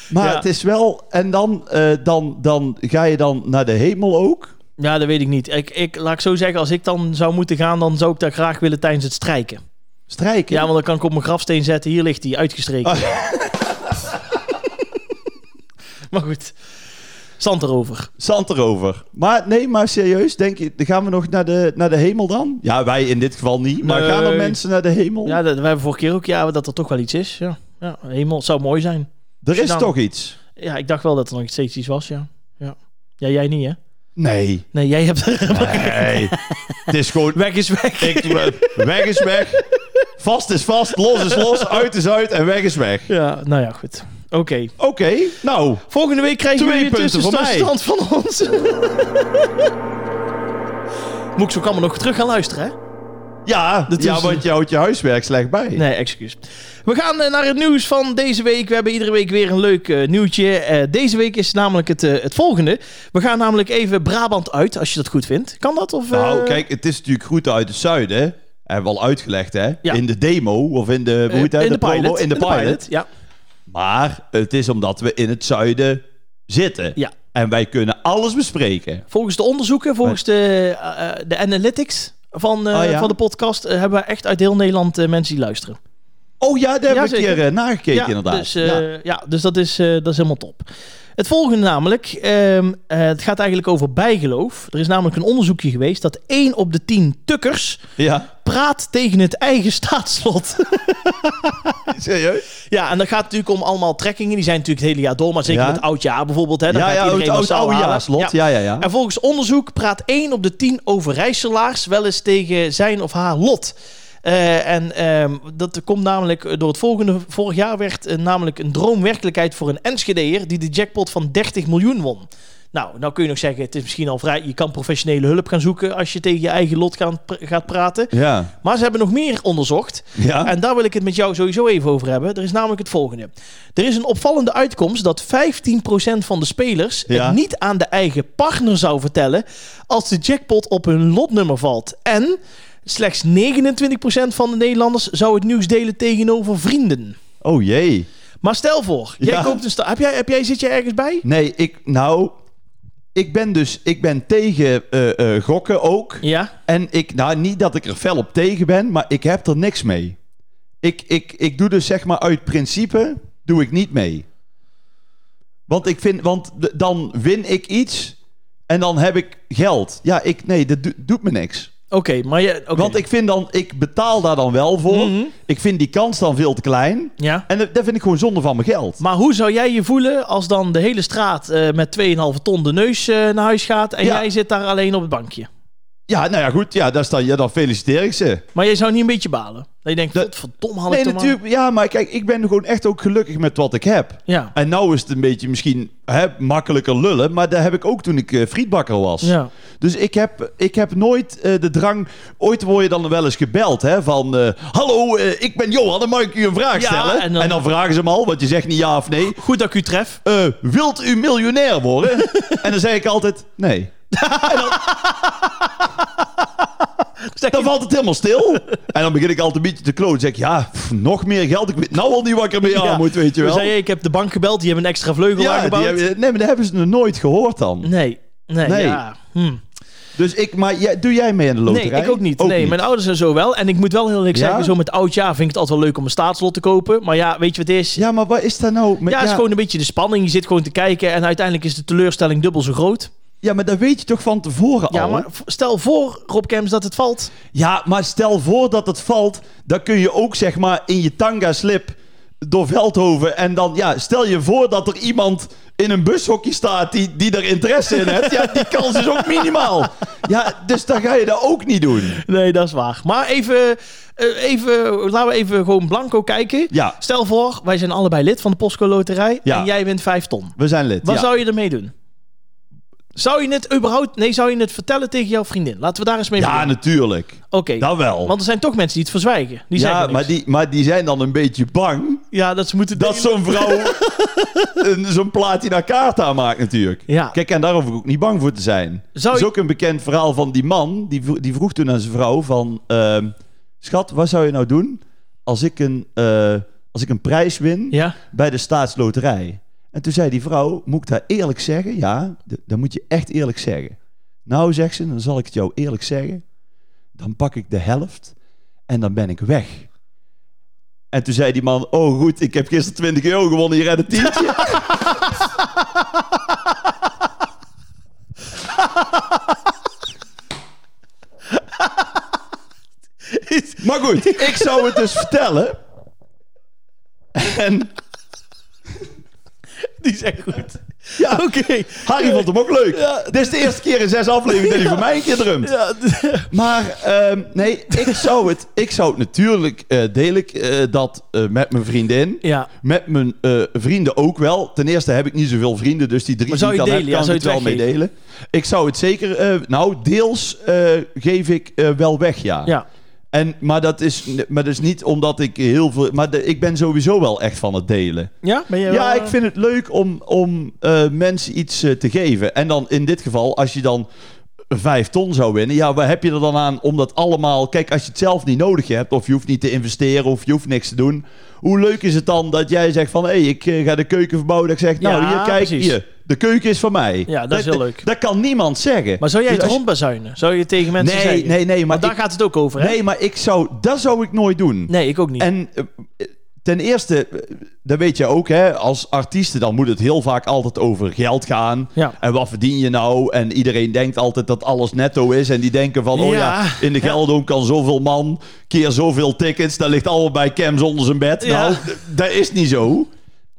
Maar
Ja.
het is wel... En dan, eh, dan, dan ga je dan naar de hemel ook.
Ja, dat weet ik niet. Ik, ik, laat ik zo zeggen, als ik dan zou moeten gaan, dan zou ik dat graag willen tijdens het strijken.
Strijken.
Ja, want dan kan ik op mijn grafsteen zetten. Hier ligt die, uitgestreken.
Oh.
<laughs> maar goed, zand erover.
Zand erover. Maar nee, maar serieus. Denk je, dan gaan we nog naar de, naar de hemel dan? Ja, wij in dit geval niet. Maar gaan er
Nee.
mensen naar de hemel?
Ja, dat, we hebben vorige keer ook ja, dat er toch wel iets is. Ja, ja hemel, het zou mooi zijn.
er is
dan-
toch iets?
Ja, ik dacht wel dat er nog steeds iets was, ja. ja. Ja, jij niet, hè?
Nee.
Nee, jij hebt...
Nee. <laughs> het is gewoon
<laughs> weg is weg.
Ik, weg is weg. Vast is vast, los is los, uit is uit en weg is weg.
Ja, nou ja, goed. Oké.
Oké, nou.
Volgende week krijgen
Twee
jullie een
punten voor mij.
tussenstand van ons. <laughs> Moet ik zo allemaal nog terug gaan luisteren, hè?
Ja,
Dat
ja
is-
want je houdt je huiswerk slecht bij.
Nee, excuus. We gaan eh, naar het nieuws van deze week. We hebben iedere week weer een leuk eh, nieuwtje. Eh, deze week is namelijk het, eh, het volgende. We gaan namelijk even Brabant uit, als je dat goed vindt. Kan dat? Of,
Nou,
eh,
kijk, het is natuurlijk groeten uit het zuiden. hè. Hebben we al uitgelegd, hè?
Ja.
In de demo, of in de, hoe
eh,
heet dat?
in de,
promo,
pilot.
in de pilot.
Ja.
Maar het is omdat we in het zuiden zitten.
ja.
En wij kunnen alles bespreken.
Volgens de onderzoeken, volgens de, eh, eh, de analytics van, eh,
Ah, ja.
van de podcast... eh, hebben we echt uit heel Nederland eh, mensen die luisteren.
Oh ja,
Ja,
daar heb ik een
zeker.
keer eh, nagekeken, inderdaad.
Dus, eh,
ja.
ja. dus dat is, eh, dat is helemaal top. Het volgende namelijk, ehm, eh, het gaat eigenlijk over bijgeloof. Er is namelijk een onderzoekje geweest dat 1 op de 10 tukkers
ja.
praat tegen het eigen <laughs> staatslot. <laughs>
Serieus?
ja, en dat gaat natuurlijk om allemaal trekkingen. Die zijn natuurlijk het hele jaar door, maar zeker
Ja.
het oudjaar bijvoorbeeld. Hè, dan
Ja,
gaat
ja,
iedereen
het oud-
massaal halen.
oudejaarslot. Ja, ja, ja.
En volgens onderzoek praat 1 op de 10 Overijsselaars wel eens tegen zijn of haar lot. Eh, en ehm, dat komt namelijk door het volgende. Vorig jaar werd eh, namelijk een droom werkelijkheid voor een Enschedeer die de jackpot van 30 miljoen won. Nou, nou kun je nog zeggen, het is misschien al vrij. Je kan professionele hulp gaan zoeken als je tegen je eigen lot gaan, pr- gaat praten.
Ja.
Maar ze hebben nog meer onderzocht.
Ja.
En daar wil ik het met jou sowieso even over hebben. Er is namelijk het volgende. Er is een opvallende uitkomst dat 15% van de spelers
Ja.
het niet aan de eigen partner zou vertellen als de jackpot op hun lotnummer valt. En slechts 29% van de Nederlanders zou het nieuws delen tegenover vrienden.
Oh jee.
Maar stel voor, jij
Ja.
koopt een sta- heb jij, heb jij, zit jij ergens bij?
Nee, ik, nou, ik ben dus ik ben tegen eh, eh, gokken ook.
Ja?
En ik, nou niet dat ik er fel op tegen ben, maar ik heb er niks mee. Ik, ik, ik doe dus zeg maar uit principe, doe ik niet mee. Want ik vind, want d- dan win ik iets en dan heb ik geld. Ja, ik, nee, dat do- doet me niks.
Oké, maar je... oké.
Want ik vind dan, ik betaal daar dan wel voor.
Mhm.
Ik vind die kans dan veel te klein.
Ja?
En dat dat vind ik gewoon zonde van mijn geld.
Maar hoe zou jij je voelen als dan de hele straat eh, met 2,5 ton de neus eh, naar huis gaat en
Ja.
jij zit daar alleen op het bankje?
Ja, nou ja, goed. Ja, dat is dan, ja, dan feliciteer ik ze.
Maar jij zou niet een beetje balen? Dat je denkt,
Dat-
godverdomme had ik
Nee,
toch maar-
natuurlijk. Ja, maar kijk, ik ben gewoon echt ook gelukkig met wat ik heb.
Ja.
En nou is het een beetje misschien hè, makkelijker lullen, maar dat heb ik ook toen ik eh, frietbakker was.
ja.
Dus ik heb, ik heb nooit eh, de drang. Ooit word je dan wel eens gebeld hè, van: eh, Hallo, eh, ik ben Johan en mag ik u een vraag
Ja,
stellen?
en
En
dan-
dan... vragen ze hem al, want je zegt niet ja of nee.
Goed dat ik u tref.
Eh, wilt u miljonair worden?
<laughs>
en dan zeg ik altijd: Nee.
Zeg
Dan
je-
valt het helemaal stil. En dan begin ik altijd een beetje te kloot. Dan zeg ik: Ja, pff, nog meer geld. Ik weet nou al niet wat ik ermee
Ja.
aan moet, weet je
Dan
wel.
zei je, ik heb de bank gebeld, die hebben een extra vleugel
Ja, die
aangebouwd.
hebben- nee, maar dat hebben ze nog nooit gehoord dan.
Nee, nee,
Nee.
ja. Hm.
Dus ik, maar jij- doe jij mee aan de
Nee,
loterij?
ik ook niet. nee, mijn ouders en zo wel. En ik moet wel heel eerlijk
Ja?
zeggen, zo met oud jaar vind ik het altijd wel leuk om een staatslot te kopen. Maar ja, weet je wat het is? Ja,
Ja, maar wat is daar nou... Met,
het is gewoon een beetje de spanning. Je zit gewoon te kijken en uiteindelijk is de teleurstelling dubbel zo groot.
ja, maar dat weet je toch van tevoren
Ja,
al?
maar v- stel voor, Rob Kems, dat het valt.
Ja, maar stel voor dat het valt, dan kun je ook zeg maar in je tanga-slip door Veldhoven. En dan, ja, stel je voor dat er iemand in een bushokje staat die, die er interesse in heeft. Ja, die kans is ook minimaal. Ja, dus dan ga je dat ook niet doen.
Nee, dat is waar. Maar even, eh, even laten we even gewoon blanco kijken.
Ja,
Stel voor, wij zijn allebei lid van de Postco Loterij
Ja.
en jij wint 5 ton.
we zijn lid.
Wat
ja.
zou je ermee doen? Zou je het überhaupt... Nee, zou je het vertellen tegen jouw vriendin? Laten we daar eens mee
ja,
beginnen.
natuurlijk.
Oké,
Dat wel.
want er zijn toch mensen die het verzwijgen. Die
ja,
zeggen niks.
maar die, maar die zijn dan een beetje bang
Ja, dat ze moeten...
dat zo'n vrouw
<laughs>
een- zo'n platina kaart aanmaakt natuurlijk.
Ja.
Kijk, en daar hoef ik ook niet bang voor te zijn.
Zou
Dat is
je-
ook een bekend verhaal van die man. Die, vro- die vroeg toen aan zijn vrouw van... ehm, Schat, wat zou je nou doen als ik een, eh, als ik een prijs win
Ja,
bij de staatsloterij? En toen zei die vrouw, moet ik dat eerlijk zeggen? Ja, d- dat moet je echt eerlijk zeggen. Nou, zegt ze, dan zal ik het jou eerlijk zeggen. Dan pak ik de helft en dan ben ik weg. En toen zei die man, oh goed, ik heb gisteren 20 euro gewonnen, hier redde een tientje.
<laughs>
Maar goed, ik zou het dus vertellen. En
die zijn goed.
ja,
<laughs> Oké.
Harry vond hem ook leuk.
Ja.
Dit is de eerste keer in zes afleveringen dat hij voor mij een keer drumt.
Ja, d-
Maar ehm, nee, ik zou het, ik zou het natuurlijk eh deel ik eh, dat eh, met mijn vriendin.
ja.
Met mijn eh, vrienden ook wel. Ten eerste heb ik niet zoveel vrienden, dus die drie
Maar zou
die ik
je
dan
delen? Ja,
heb, kan ik
zou
het
je
wel mee
het
delen. Ik zou het zeker... eh, nou, deels eh, geef ik eh, wel weg, ja.
ja.
En, maar, dat is, maar dat is niet omdat ik heel veel... Maar de- ik ben sowieso wel echt van het delen.
Ja, ben je
Ja,
wel, eh,
ik vind het leuk om, om eh, mensen iets eh, te geven. En dan in dit geval, als je dan vijf ton zou winnen, ja, waar heb je er dan aan om dat allemaal... Kijk, als je het zelf niet nodig hebt, of je hoeft niet te investeren, of je hoeft niks te doen... Hoe leuk is het dan dat jij zegt van, hé, hey, ik eh, ga de keuken verbouwen. Dat ik zeg, nou,
Ja,
hier, kijk,
precies.
hier, de keuken is van mij.
Ja, dat is heel leuk.
Dat kan niemand zeggen.
Maar zou jij
Dus
het
als je-
rondbezuinen? Zou je tegen mensen
Nee,
zeggen?
nee, nee, maar
Want daar
ik-
gaat het ook over, hè?
Nee, maar ik zou, dat zou ik nooit doen.
Nee, ik ook niet.
En eh, eh, ten eerste, eh, dat weet je ook, hè, als artiesten dan moet het heel vaak altijd over geld gaan.
Ja.
En wat verdien je nou? En iedereen denkt altijd dat alles netto is. En die denken van, oh ja,
Ja.
in de
Ja.
Gelderdoom kan zoveel man, keer zoveel tickets. Dat ligt allemaal bij Cams onder zijn bed.
Ja.
Nou, d- dat is niet zo.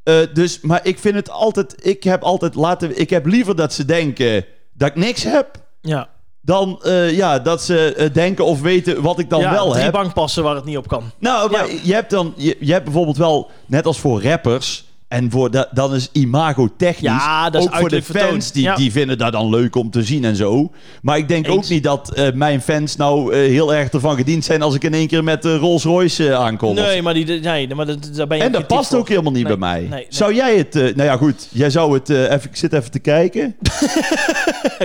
Eh, dus, maar ik vind het altijd, ik heb altijd laten, ik heb liever dat ze denken dat ik niks heb.
ja.
Dan eh, ja, dat ze eh, denken of weten wat ik dan
ja,
wel
drie
heb.
bankpassen waar het niet op kan.
Nou, maar
Ja.
je hebt dan, je, je hebt bijvoorbeeld wel, net als voor rappers. En voor da- dan is imago technisch.
Ja, dat is
ook voor de
uiterlijk vertoon.
fans, die,
Ja.
die vinden dat dan leuk om te zien en zo. Maar ik denk
Eens.
ook niet dat eh, mijn fans nou eh, heel erg ervan gediend zijn als ik in één keer met eh, Rolls Royce eh, aankom. Of-
Nee, maar, die, nee, maar dat, daar ben je
en dat
kritiek
past
voor.
ook helemaal niet
Nee,
bij mij.
nee, nee.
Zou jij het, eh, nou ja goed, jij zou het, eh, even, ik zit even te
<laughs>
kijken.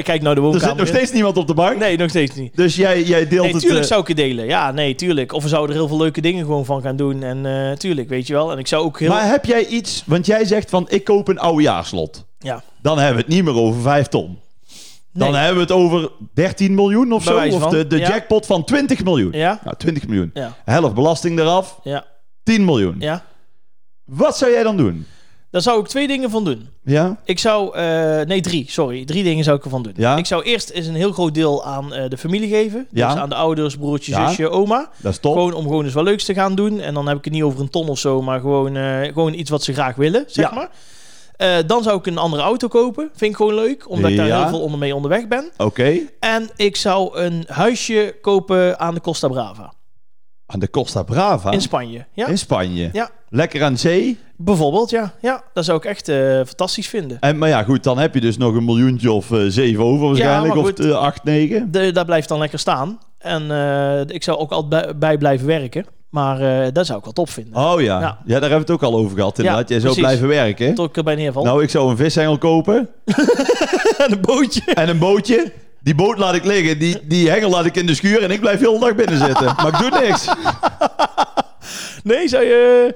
Kijk nou de
Er
woonkamer
zit nog
in.
steeds niemand op de bank.
Nee, nog steeds niet.
Dus jij, jij deelt
Nee,
het.
tuurlijk
eh,
zou ik het delen. Ja, nee, tuurlijk. Of we zouden er heel veel leuke dingen gewoon van gaan doen. En eh, tuurlijk, weet je wel. En ik zou ook heel...
Maar heb jij iets, want jij zegt van ik koop een oudejaarslot.
ja.
Dan hebben we het niet meer over vijf ton.
Nee.
Dan hebben we het over 13 miljoen of
Bij
zo.
wijze
Of
van,
de, de
ja.
jackpot van 20 miljoen.
Ja?
Nou, 20 miljoen.
Ja.
Helft belasting eraf,
Ja.
10 miljoen.
Ja.
Wat zou jij dan doen?
Daar zou ik twee dingen van doen.
Ja?
Ik zou... eh, nee, drie. Sorry. Drie dingen zou ik ervan doen.
Ja?
Ik zou eerst eens een heel groot deel aan eh, de familie geven. Dus
Ja.
aan de ouders, broertje,
Ja.
zusje, oma.
Dat is top.
Gewoon om gewoon eens wat leuks te gaan doen. En dan heb ik het niet over een ton of zo, maar gewoon, eh, gewoon iets wat ze graag willen, zeg
Ja.
maar. Eh, dan zou ik een andere auto kopen. Vind ik gewoon leuk, omdat ik daar
Ja.
heel veel onder mee onderweg ben.
Oké.
En ik zou een huisje kopen aan de Costa Brava.
Aan de Costa Brava.
In Spanje. Ja,
In Spanje.
Ja.
Lekker aan zee.
bijvoorbeeld. Ja, ja dat zou ik echt eh, fantastisch vinden.
En, maar ja, goed, dan heb je dus nog een miljoentje of eh, zeven over waarschijnlijk.
maar
of
goed.
eh, acht, negen.
De, dat blijft dan lekker staan. En eh, ik zou ook altijd bij, bij blijven werken. Maar eh dat zou ik wel top vinden.
Oh
Ja.
ja. ja. daar hebben we het ook al over gehad inderdaad. Jij zou
precies.
blijven werken.
Tot ik erbij neerval.
Nou, ik zou een vishengel kopen
en <laughs> een bootje.
en een bootje. Die boot laat ik liggen, die, die hengel laat ik in de schuur en ik blijf heel de dag binnen zitten. Maar ik doe niks.
Nee, zou je...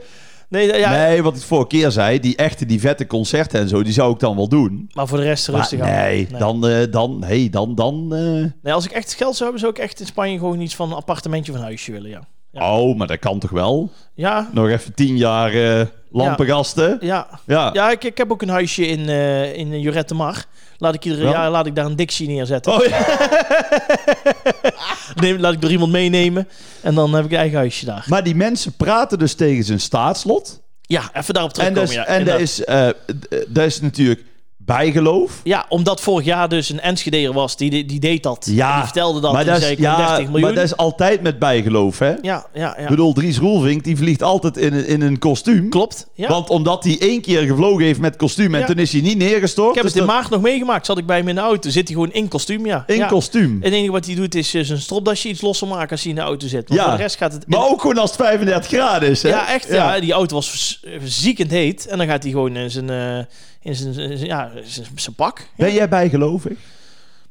Nee, ja,
Nee, wat ik vorige keer zei, die echte, die vette concerten en zo, die zou ik dan wel doen.
Maar voor de rest
Maar
rustig aan.
nee, dan, eh, dan, nee, dan, dan. eh,
Nee, als ik echt geld zou hebben, zou ik echt in Spanje gewoon iets van een appartementje van een huisje willen, ja. Ja.
Oh, maar dat kan toch wel?
Ja,
Nog even tien jaar eh, lampengasten.
ja.
Ja.
Ja, ik, ik heb ook een huisje in, eh in Jurette de Mar. Laat ik iedere
Ja.
jaar laat ik daar een dictie neerzetten.
Oh ja.
Neem, laat ik er iemand meenemen. En dan heb ik een eigen huisje daar.
Maar die mensen praten dus tegen zijn staatslot.
Ja, even daarop
En
terugkomen.
dat is,
ja,
en dat
inderdaad.
is, eh, d- dat is natuurlijk bijgeloof.
ja, omdat vorig jaar dus een Enschedeer was, die, die deed dat.
Ja,
En die vertelde dat.
maar
en
dat,
die
is,
zei ik wil
ja,
30 miljoen.
maar dat is altijd met bijgeloof, hè?
Ja, ja, ja.
Ik bedoel, Dries Roelvink, die vliegt altijd in, een- in een kostuum.
Klopt. Ja.
Want omdat hij één keer gevlogen heeft met kostuum en
Ja.
toen is hij niet neergestort.
ik heb
dus
het in
dat-
maart nog meegemaakt. Zat ik bij hem in de auto. Zit hij gewoon in kostuum, ja.
in
ja.
kostuum.
Het enige wat hij doet is eh, zijn stropdasje iets losser maken als hij in de auto zit. Maar
Ja.
voor de rest gaat het...
Maar ook gewoon als het 35 graden is, hè?
ja, echt. Ja. die auto was vers- eh, ziekend heet. En dan gaat hij gewoon in zijn, eh, in zijn, in zijn- ja, zijn, zijn pak.
Ben jij bijgelovig?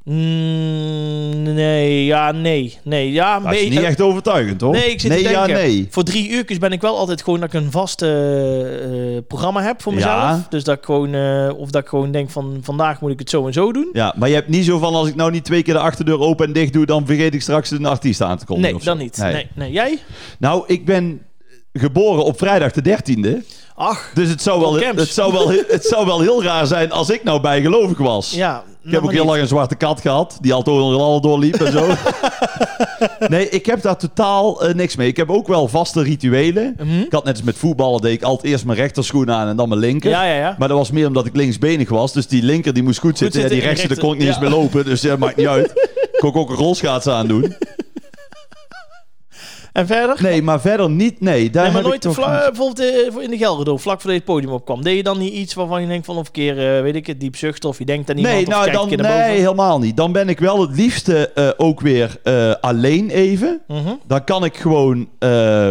Mm, nee, ja, nee. Nee, ja, een
Dat is
beetje-
niet echt overtuigend, hoor.
Nee, ik zit
nee,
te
ja,
denken.
nee.
Voor drie uurtjes ben ik wel altijd gewoon dat ik een vast eh, eh, programma heb voor mezelf.
Ja.
Dus dat ik gewoon, eh, of dat ik gewoon denk van vandaag moet ik het zo en zo doen.
Ja, maar je hebt niet zo van als ik nou niet twee keer de achterdeur open en dicht doe, dan vergeet ik straks een artiest aan te komen.
Nee, dan niet. Nee. Nee. Jij?
Nou, ik ben geboren op vrijdag de 13e.
Ach,
Dus het zou, wel,
Tom Camps.
het, zou wel, he- het zou wel heel raar zijn als ik nou bijgelovig was.
ja.
Ik heb ook heel lang een zwarte kat gehad, die altijd al doorliep en
<laughs>
zo. nee, ik heb daar totaal eh, niks mee. Ik heb ook wel vaste rituelen.
Mhm.
Ik had net als met voetballen, deed ik altijd eerst mijn rechterschoen aan en dan mijn linker.
Ja, ja, ja.
Maar dat was meer omdat ik linksbenig was. Dus die linker die moest goed, zitten.
zitten
en die
en
rechter, daar kon ik niet
rechter,
eens meer lopen. Dus dat maakt niet uit. Ik kon ook een rolschaats aandoen.
En verder?
Nee, maar verder niet. Nee, daar
Nee, maar
heb
nooit
ik toch
vla-
niet.
bijvoorbeeld eh, voor in de Gelredome, vlak voordat je het podium opkwam. Deed je dan niet iets waarvan je denkt van of een keer, eh, weet ik het, diep zucht of je denkt aan iemand
Nee,
of
nou,
kijkt
dan,
een keer
nee,
naar
helemaal niet. Dan ben ik wel het liefste eh, ook weer eh, alleen even.
boven? Mhm.
Dan kan ik gewoon. eh,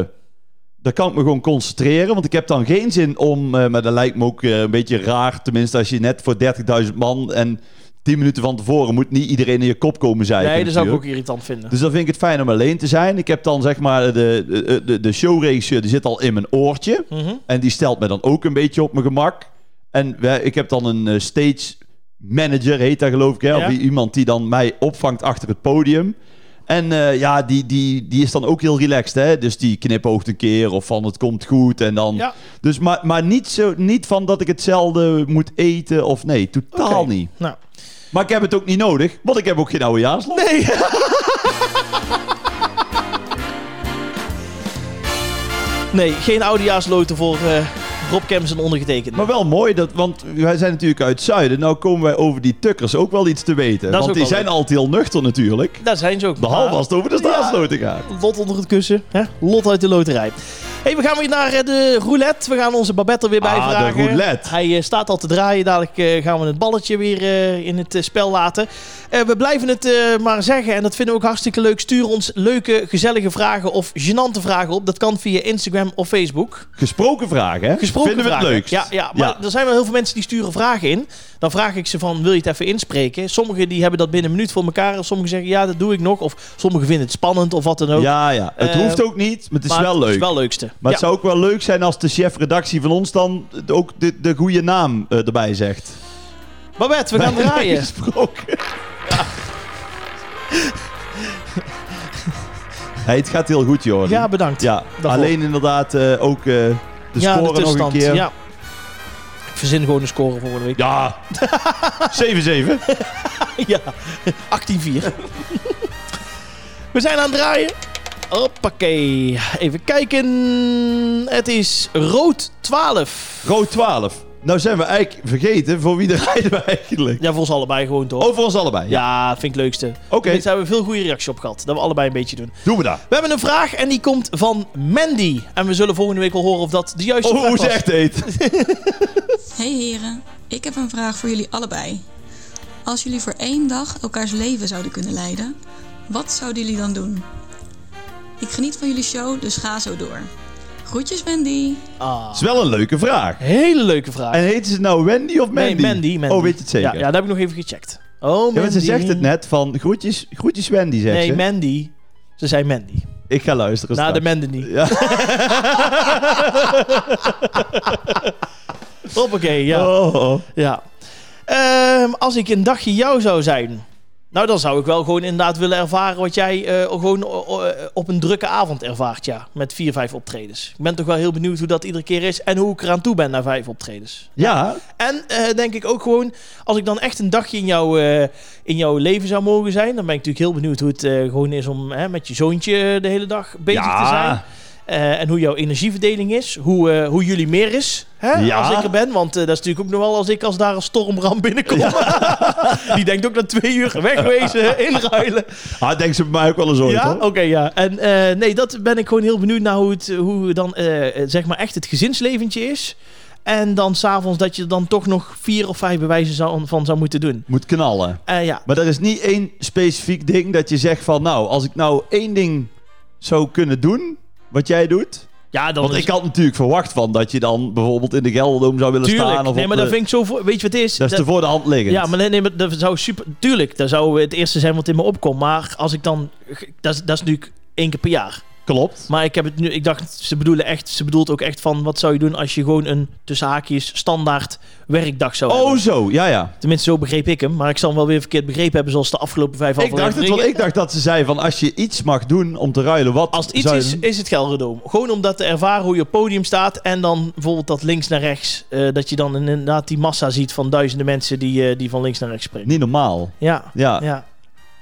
dan kan ik me gewoon concentreren. Want ik heb dan geen zin om. eh, maar dat lijkt me ook eh, een beetje raar. Tenminste, als je net voor 30.000 man. en 10 minuten van tevoren moet niet iedereen in je kop komen zijn.
Nee, dat zou ik ook irritant vinden.
Dus dan vind ik het fijn om alleen te zijn. Ik heb dan zeg maar de, de, de, de showregisseur, die zit al in mijn oortje.
Mhm.
En die stelt me dan ook een beetje op mijn gemak. En wij- ik heb dan een eh, stage manager, heet dat geloof ik. Hè?
Ja.
Of i- iemand die dan mij opvangt achter het podium. En eh, ja, die, die, die is dan ook heel relaxed. Hè? Dus die knipoogt een keer of van het komt goed. En dan...
Ja.
dus, maar maar niet, zo, niet van dat ik hetzelfde moet eten of nee, totaal
Oké.
niet.
Nou.
Maar ik heb het ook niet nodig, want ik heb ook geen oudejaarslot.
Nee. <laughs> nee, geen oudejaarsloten voor eh Rob Kemps en ondergetekend.
Maar wel mooi, dat, want wij zijn natuurlijk uit het zuiden. Nou komen wij over die tukkers ook wel iets te weten.
Dat is
want
ook
die
wel
zijn altijd heel nuchter natuurlijk.
Daar zijn ze ook. Ah.
Behalve als het over de staatsloten gaat.
Lot onder het kussen. Hè? Lot uit de loterij. Hey, we gaan weer naar eh, de roulette. We gaan onze Babette er weer bij
Ah, de
vragen.
roulette.
Hij eh, staat al te draaien. Dadelijk eh, gaan we het balletje weer eh, in het eh, spel laten. Eh, we blijven het eh, maar zeggen. En dat vinden we ook hartstikke leuk. Stuur ons leuke, gezellige vragen of gênante vragen op. Dat kan via Instagram of Facebook.
Gesproken vragen, hè?
Gesproken
Vinden we het
vragen.
leukst.
Ja, ja maar er zijn wel heel veel mensen die sturen vragen in. Dan vraag ik ze van, wil je het even inspreken? Sommigen die hebben dat binnen een minuut voor elkaar. En sommigen zeggen, ja, dat doe ik nog. Of sommigen vinden het spannend of wat dan ook.
ja, ja. Het
Eh,
hoeft ook niet, maar het is
Maar
wel
Het
leuk.
is wel leukste.
Maar
Ja.
het zou ook wel leuk zijn als de chef-redactie van ons dan ook de, de goede naam eh, erbij zegt.
Babette, we gaan
Bij
draaien.
<laughs> Gesproken.
Ja.
Hey, het gaat heel goed, Jordi.
Ja, bedankt.
Ja,
Daarvoor.
alleen inderdaad eh, ook eh, de
Ja,
score nog een keer.
Ja. Ik verzin gewoon een score volgende week.
Ja. 7-7.
<laughs> Ja, 18-4.
<laughs>
We zijn aan het draaien. Hoppakee. Even kijken. Het is rood 12.
Rood 12. Nou zijn we eigenlijk vergeten voor wie er <laughs> rijden we eigenlijk.
Ja, voor ons allebei gewoon toch?
Over ons allebei. Ja.
Ja, vind ik het leukste.
Oh. Oké,
Mensen hebben veel goede reacties op gehad. Dat we allebei een beetje doen.
doen we dat.
We hebben een vraag en die komt van Mandy. En we zullen volgende week wel horen of dat de juiste
Oh,
vraag
hoe
was.
ze echt heet.
Hey heren, ik heb een vraag voor jullie allebei. Als jullie voor één dag elkaars leven zouden kunnen leiden, wat zouden jullie dan doen? Ik geniet van jullie show, dus ga zo door. Groetjes Wendy!
Ah,
is wel een leuke vraag.
hele leuke vraag.
En heet ze nou Wendy of Mandy?
Nee, Mandy, Mandy.
Oh, weet je het zeker?
Ja, ja, dat heb ik nog even gecheckt. Oh, Mandy.
Ja, want ze zegt het net van groetjes, groetjes Wendy, zegt
Nee,
ze.
Mandy. Ze zei Mandy.
Ik ga luisteren
Na de
straks.
Mandy niet.
Ja.
<laughs> Hoppakee, ja.
Oh, oh.
Ja. Ehm, als ik een dagje jou zou zijn. Nou, dan zou ik wel gewoon inderdaad willen ervaren wat jij eh, gewoon o- o- op een drukke avond ervaart, ja. Met vier, vijf optredens. Ik ben toch wel heel benieuwd hoe dat iedere keer is en hoe ik eraan toe ben na vijf optredens.
Ja,
En eh, denk ik ook gewoon, als ik dan echt een dagje in, jou, eh, in jouw leven zou mogen zijn, dan ben ik natuurlijk heel benieuwd hoe het eh, gewoon is om hè, met je zoontje de hele dag bezig
ja.
te zijn. Eh, en hoe jouw energieverdeling is. Hoe, eh, hoe jullie meer is. Hè,
Ja.
Als ik er ben. Want eh, dat is natuurlijk ook nog wel als ik als daar een stormram binnenkom. <laughs> Die denkt ook na twee uur
<laughs>
wegwezen, inruilen.
Ah, denk ze bij mij ook wel eens ooit,
ja,
hoor.
oké, ja. En eh, nee, dat ben ik gewoon heel benieuwd naar hoe, het, eh, hoe dan eh, eh, zeg maar echt het gezinsleventje is. En dan s'avonds dat je dan toch nog vier of vijf bewijzen zou, van zou moeten doen.
Moet knallen.
Eh, ja,
Maar er is niet één specifiek ding dat je zegt van... Nou, als ik nou één ding zou kunnen doen, wat jij doet...
ja dan
Want
is-
ik had natuurlijk verwacht van dat je dan bijvoorbeeld in de Gelderdoom zou willen
Tuurlijk.
staan. Of
Nee,
op
maar
de-
dat vind ik zo... voor- Weet je wat het is?
dat is
Dat-
te voor de hand liggend.
Ja, maar nee, nee, maar dat zou super. Tuurlijk, dat zou het eerste zijn wat in me opkomt. Maar als ik dan. Dat is, dat is natuurlijk één keer per jaar.
Klopt.
Maar ik heb het nu. Ik dacht, ze bedoelen echt. Ze bedoelt ook echt van. Wat zou je doen als je gewoon een tussen haakjes standaard werkdag zou
Oh,
hebben?
zo. Ja, ja.
Tenminste, zo begreep ik hem. Maar ik zal hem wel weer verkeerd begrepen hebben, zoals de afgelopen vijf
Ik dacht, het,
afleveringen.
want ik dacht dat ze zei van als je iets mag doen om te ruilen, wat
Als het iets
zou je
is,
doen?
is het Gelredome. Gewoon om dat te ervaren hoe je op podium staat. En dan bijvoorbeeld dat links naar rechts. eh, dat je dan inderdaad die massa ziet van duizenden mensen die, eh, die van links naar rechts springen.
Niet normaal.
Ja.
Ja.
Ja.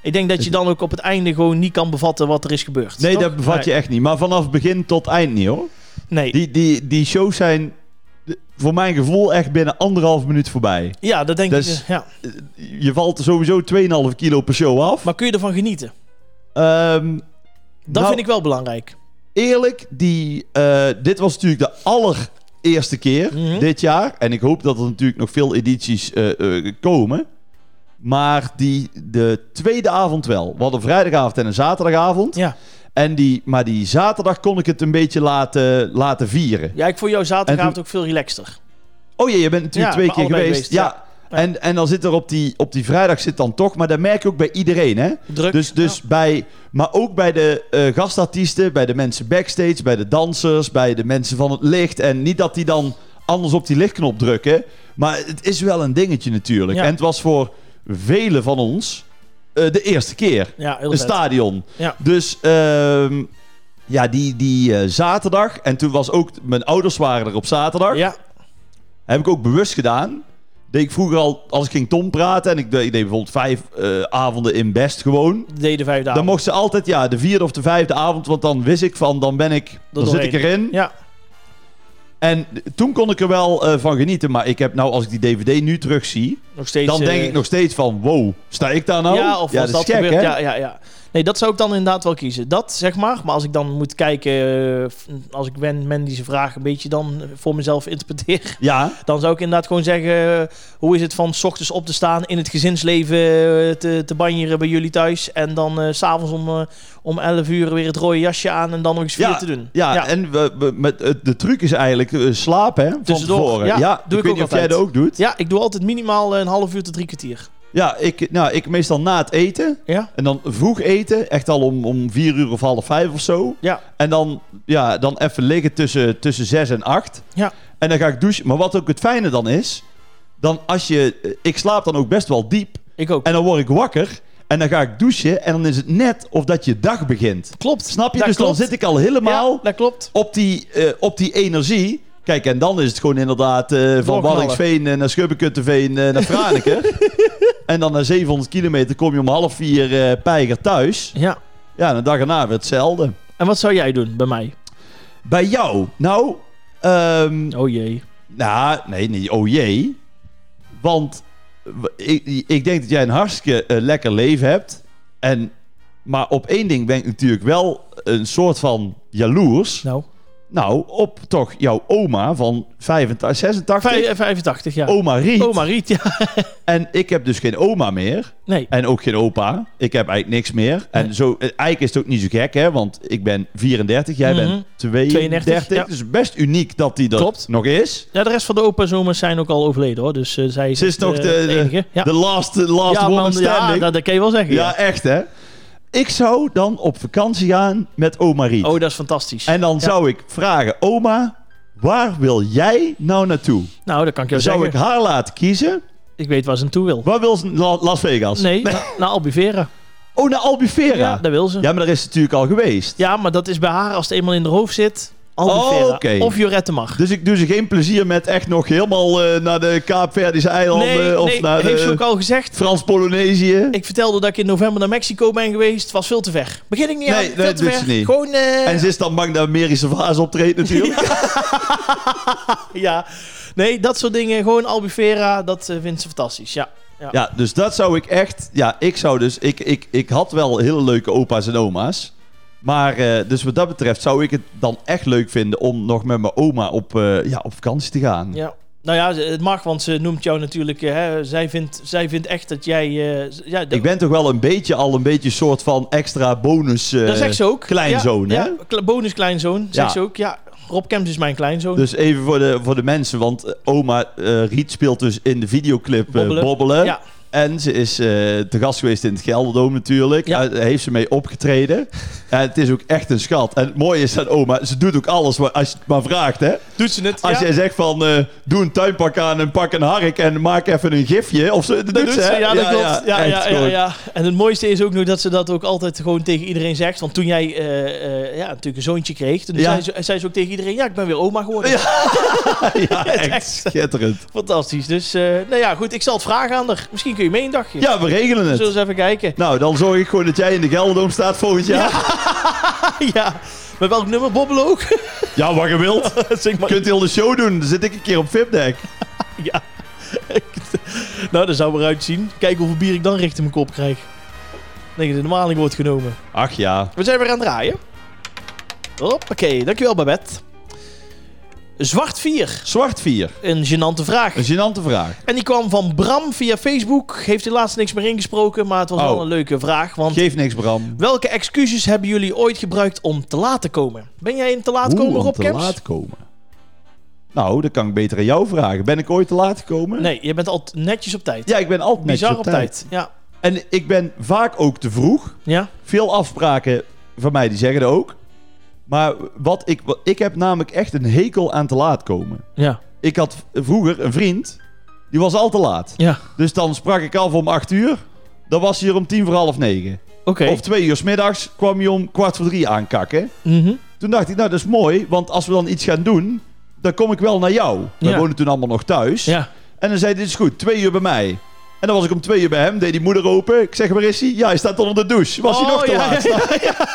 Ik denk dat je dan ook op het einde gewoon niet kan bevatten wat er is gebeurd.
Nee,
toch?
dat bevat je echt niet. Maar vanaf begin tot eind niet hoor.
Nee.
Die, die, die shows zijn eh, voor mijn gevoel echt binnen anderhalf minuut voorbij.
Ja, dat denk
Dus-
ik. Ja.
Eh, Je valt sowieso 2,5 kilo per show af.
Maar kun je ervan genieten?
Ehm,
Dat
nou,
vind ik wel belangrijk.
eerlijk, die, eh, dit was natuurlijk de allereerste keer
Mhm.
dit jaar. En ik hoop dat er natuurlijk nog veel edities eh, eh, komen. Maar die, de tweede avond wel. We hadden vrijdagavond en een zaterdagavond.
Ja.
En die, maar die zaterdag kon ik het een beetje laten, laten vieren.
Ja, ik vond jouw
En
zaterdagavond
toen-
ook veel relaxter.
Oh jee, je bent natuurlijk
Ja,
twee
maar
keer
allebei
geweest.
geweest,
ja.
ja.
En, en dan zit er op die, op die vrijdag zit dan toch. Maar dat merk je ook bij iedereen, hè?
Druk.
Dus, dus bij, maar ook bij de eh, gastartiesten, bij de mensen backstage, bij de dansers, bij de mensen van het licht. En niet dat die dan anders op die lichtknop drukken. Maar het is wel een dingetje natuurlijk.
Ja.
En het was voor velen van ons eh, de eerste keer.
Ja, ja heel
Een
vet.
stadion.
Ja.
Dus ehm, ja, die, die eh, zaterdag. En toen was ook, mijn ouders waren er op zaterdag.
Ja,
Heb ik ook bewust gedaan. Deed ik vroeger al, als ik ging Tom praten. En ik deed, ik deed bijvoorbeeld vijf eh, avonden in Best gewoon.
dat deden vijf dagen.
Dan mocht ze altijd, ja, de vierde of de vijfde avond. Want dan wist ik van, dan ben ik, dan zit ik
doorheen.
erin.
Ja,
En toen kon ik er wel eh, van genieten. Maar ik heb nou, als ik die dvd nu terugzie,
nog steeds.
dan
eh,
denk ik nog steeds van, wow, sta ik daar nou?
Ja, of was dat,
is gek,
gebeurd?
hè?
Ja, ja, ja. Nee, dat zou ik dan inderdaad wel kiezen. Dat zeg maar. Maar als ik dan moet kijken, eh, f- als ik ben, men die ze vragen, een beetje dan eh, voor mezelf interpreteer. <laughs>
Ja,
Dan zou ik inderdaad gewoon zeggen: eh, hoe is het van 's ochtends op te staan, in het gezinsleven eh, te, te banjeren bij jullie thuis. En dan eh, s s'avonds om, eh, om 11 uur weer het rode jasje aan en dan nog eens vier te doen.
ja, en we, we- met, het- de truc is eigenlijk eh, slapen, hè? Van
Tussendoor,
tevoren.
ja,
Ja,
doe
ik
ik
weet
ook
niet of jij
altijd.
dat ook doet.
Ja, ik doe altijd minimaal eh, een half uur tot drie kwartier.
Ja, ik, nou, ik meestal na het eten.
Ja?
En dan vroeg eten, echt al om, om vier uur of half vijf of zo.
Ja.
En dan, ja, dan even liggen tussen, tussen zes en acht.
Ja.
En dan ga ik douchen. Maar wat ook het fijne dan is, dan als je... Ik eh, slaap dan ook best wel diep.
Ik ook.
En dan word ik wakker. En dan ga ik douchen en dan is het net of dat je dag begint.
Klopt.
Snap je?
Dat
dus
klopt.
dan zit ik al helemaal
Ja, dat klopt.
op, die, eh, op die energie. Kijk, en dan is het gewoon inderdaad eh, van
Doorknallen.
Waddingsveen eh, naar Schubbekutteveen eh, naar
<laughs>
Franeker. en dan na 700 kilometer kom je om half vier eh, pijger thuis.
Ja.
Ja, en de dag erna weer hetzelfde.
En wat zou jij doen bij mij?
Bij jou? Nou, ehm,
Oh jee.
nou, nee, niet oh jee. Want w- ik, ik denk dat jij een hartstikke eh, lekker leven hebt. En, maar op één ding ben ik natuurlijk wel een soort van jaloers.
Nou.
Nou, op toch jouw oma van 85, 86.
Vij- eh, 85, ja.
Oma Oh, Riet.
Oma Riet, ja. <laughs>
En ik heb dus geen oma meer.
Nee.
En ook geen opa. Ik heb eigenlijk niks meer. En zo, eh, eigenlijk is het ook niet zo gek, hè? Want ik ben 34, jij
Mhm.
bent 32.
32, ja.
Dus best uniek dat die er
Klopt.
nog is.
Ja, de rest van de opa en zomers zijn ook al overleden hoor. Dus eh, zij is,
Ze is
echt,
nog de,
eh,
de,
enige. Ja,
de last, the last
ja,
woman
man,
standing.
ja dat, dat kan je wel zeggen.
Ja,
Ja.
echt, hè? Ik zou dan op vakantie gaan met oma Riet.
Oh, dat is fantastisch.
En dan zou ik vragen, oma, waar wil jij nou naartoe?
nou, dat kan ik jou
Zou
zeggen.
ik
Ik...
haar laten kiezen?
weet waar ze naartoe wil.
Waar wil ze? La- Las Vegas?
Nee, na- naar Albufeira.
Oh, naar Albufeira?
Ja,
Ja,
dat wil ze. Ja.
maar daar is het natuurlijk al geweest.
maar dat is bij haar als het eenmaal in haar hoofd zit. Albufeira.
Oh, oké.
Of Jorette mag.
Dus ik doe ze geen plezier met echt nog helemaal eh, naar de Kaapverdische eilanden
nee,
eh, of
nee
naar
heeft ze ook
de
al gezegd.
Frans-Polynesië.
Ik vertelde dat ik in november naar Mexico ben geweest. Het was veel te ver. Begin ik niet
Nee,
aan.
nee,
veel te
doet
ver.
ze niet.
Gewoon... eh,
En ze is dan bang dat Amerische Vaas optreedt natuurlijk.
<laughs> Ja. Nee, dat soort dingen. Gewoon Albufeira. Dat eh, vindt ze fantastisch. Ja.
Ja, dus dat zou ik echt... Ja, ik zou dus... Ik, ik, ik had wel hele leuke opa's en oma's. Maar eh, dus wat dat betreft zou ik het dan echt leuk vinden... om nog met mijn oma op, eh, ja, op vakantie te gaan.
Ja. Nou ja, ze- het mag, want ze noemt jou natuurlijk. eh, Hè, zij, vindt, zij vindt echt dat jij. eh, z- ja, dat-
Ik ben toch wel een beetje al een beetje soort van extra bonus... eh,
dat zegt ze ook.
kleinzoon,
ja,
hè?
Ja, kle- bonuskleinzoon, zegt
Ja.
ze ook. Ja, Rob Kems is mijn kleinzoon.
<laughs> Dus even voor de, voor de mensen, want eh, oma eh, Riet speelt dus in de videoclip eh,
Bobbelen.
Bobbelen.
ja.
En ze is eh, te gast geweest in het Gelderdoom natuurlijk.
Ja.
Eh, Daar heeft ze mee opgetreden. en het is ook echt een schat. En het mooie is dat oma, ze doet ook alles wat, als je het maar vraagt. Hè?
Doet ze het?
Als
ja.
jij zegt van, eh, doe een tuinpak aan en pak een hark en maak even een gifje. Of ze, dat,
Dat
doet ze,
doet
hè?
ze, ja, dat klopt. Ja, ja,
echt
ja, ja,
gewoon.
En het mooiste is ook nog dat ze dat ook altijd gewoon tegen iedereen zegt. Want toen jij eh, eh, ja, natuurlijk een zoontje kreeg, toen
Ja.
zei, ze, zei ze ook tegen iedereen: Ja, ik ben weer oma geworden. <laughs>
<laughs> Ja, echt
echt.
schitterend.
Fantastisch. Dus, eh, nou ja, goed. Ik zal het vragen aan haar. Misschien kun je mee een dagje.
Ja, we regelen
Zullen we
het.
eens even
<laughs>
kijken.
Nou, dan zorg ik gewoon dat jij in de Gelderdoom staat volgend jaar. Ja, Ah,
ja. Met welk nummer Bobbel ook? <laughs>
wat je wilt.
Zeg
Je
maar.
kunt heel de show doen. Dan zit ik een keer op Vipdek.
Ja. nou, dat zou eruit zien. Kijk hoeveel bier ik dan richting mijn kop krijg. Ik Denk dat de maling wordt genomen.
Ach ja.
We zijn weer aan het draaien. Hoppakee, dankjewel Babette. Zwart 4,
Zwart 4.
een gênante vraag.
Een gênante vraag.
En die kwam van Bram via Facebook. Heeft helaas niks meer ingesproken, maar het was
Oh.
wel een leuke vraag. Want
Geef niks, Bram.
welke excuses hebben jullie ooit gebruikt om te laat te komen? Ben jij een te laat komen,
om
Rob
te
Kemps?
laat komen? Nou, dat kan ik beter aan jou vragen. Ben ik ooit te laat gekomen?
Nee, je bent altijd netjes op tijd.
Ja, ik ben altijd netjes
Bizar op tijd. Ja.
En ik ben vaak ook te vroeg.
Ja?
Veel afspraken van mij die zeggen dat ook. Maar wat ik, wat- ik heb namelijk echt een hekel aan te laat komen.
Ja.
Ik had vroeger een vriend, die was al te laat.
Ja.
Dus dan sprak ik af om 8 uur. Dan was hij er om tien voor half negen.
Oké.
Of twee uur 's middags kwam hij om kwart voor drie aankakken.
Mhm.
Toen dacht ik, nou dat is mooi, want als we dan iets gaan doen, dan kom ik wel naar jou. We
Ja.
wonen toen allemaal nog thuis.
Ja.
En dan zei hij, dit is goed, twee uur bij mij. En dan was ik om twee uur bij hem, deed die moeder open. Ik zeg, waar is hij? Ja, hij staat onder de douche. Was
Oh,
hij nog te laat?
<laughs>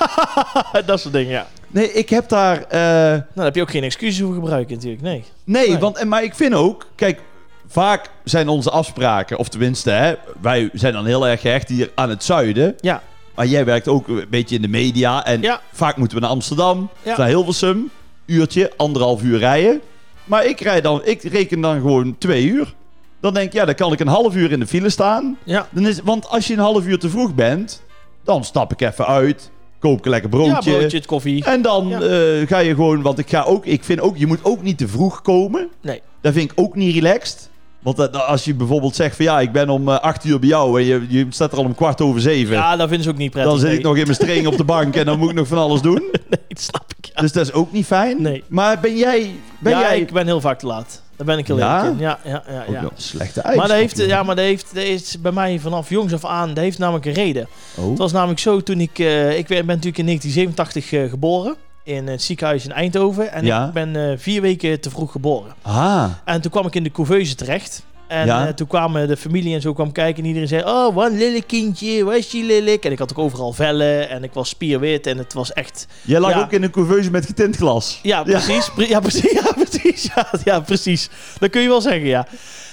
Dat soort dingen, <laughs> ja.
Nee, ik heb daar... eh,
Nou, daar heb je ook geen excuses voor gebruiken natuurlijk, nee.
Nee,
Nee.
Want, en, maar ik vind ook, kijk, vaak zijn onze afspraken, of tenminste, hè, wij zijn dan heel erg gehecht hier aan het zuiden.
Ja.
Maar jij werkt ook een beetje in de media. En
Ja.
vaak moeten we naar Amsterdam,
Ja.
naar Hilversum. Uurtje, anderhalf uur rijden. Maar ik, rij dan, ik reken dan gewoon twee uur. Dan denk ik, ja, dan kan ik een half uur in de file staan.
Ja.
Dan is, want als je een half uur te vroeg bent, dan stap ik even uit. Koop ik een lekker
Ja, broodje, het koffie.
en dan
Ja.
eh, ga je gewoon, want ik ga ook, ik vind ook, je moet ook niet te vroeg komen.
Nee.
Dat vind ik ook niet relaxed. Want dat- dat- als je bijvoorbeeld zegt van ja, ik ben om eh, acht uur bij jou en je, je staat er al om kwart over zeven.
Ja, dat vinden ze ook niet prettig.
dan zit
nee.
ik nog in mijn string op de bank en dan moet ik nog van alles doen.
Nee, dat snap ik, <laughs> ja.
Dus dat is ook niet fijn.
Nee.
Maar ben jij... Ben
ja,
jij...
ik ben heel vaak te laat. Daar ben ik heel
Ja?
eerlijk in. Ja, ja, ja,
Ook
ja.
wel een slechte eigenschap.
Maar dat, heeft, ja, maar dat, heeft, dat is bij mij vanaf jongs af aan, dat heeft namelijk een reden.
Oh.
Het was namelijk zo toen ik, eh, ik ben ben natuurlijk in 1987 eh, geboren in het ziekenhuis in Eindhoven. En
Ja.
ik ben eh, vier weken te vroeg geboren.
Ah,
En toen kwam ik in de couveuse terecht. En
Ja.
eh, toen kwamen de familie en zo kwam kijken. En iedereen zei, oh, wat een lelijk kindje, wat is je lelijk? En ik had ook overal vellen en ik was spierwit. En het was echt...
jij lag
Ja.
ook in een couveuse met getint glas.
Ja, precies. Pre- Ja, precies. <laughs> Ja, precies. Ja, ja, precies. Dat kun je wel zeggen, ja.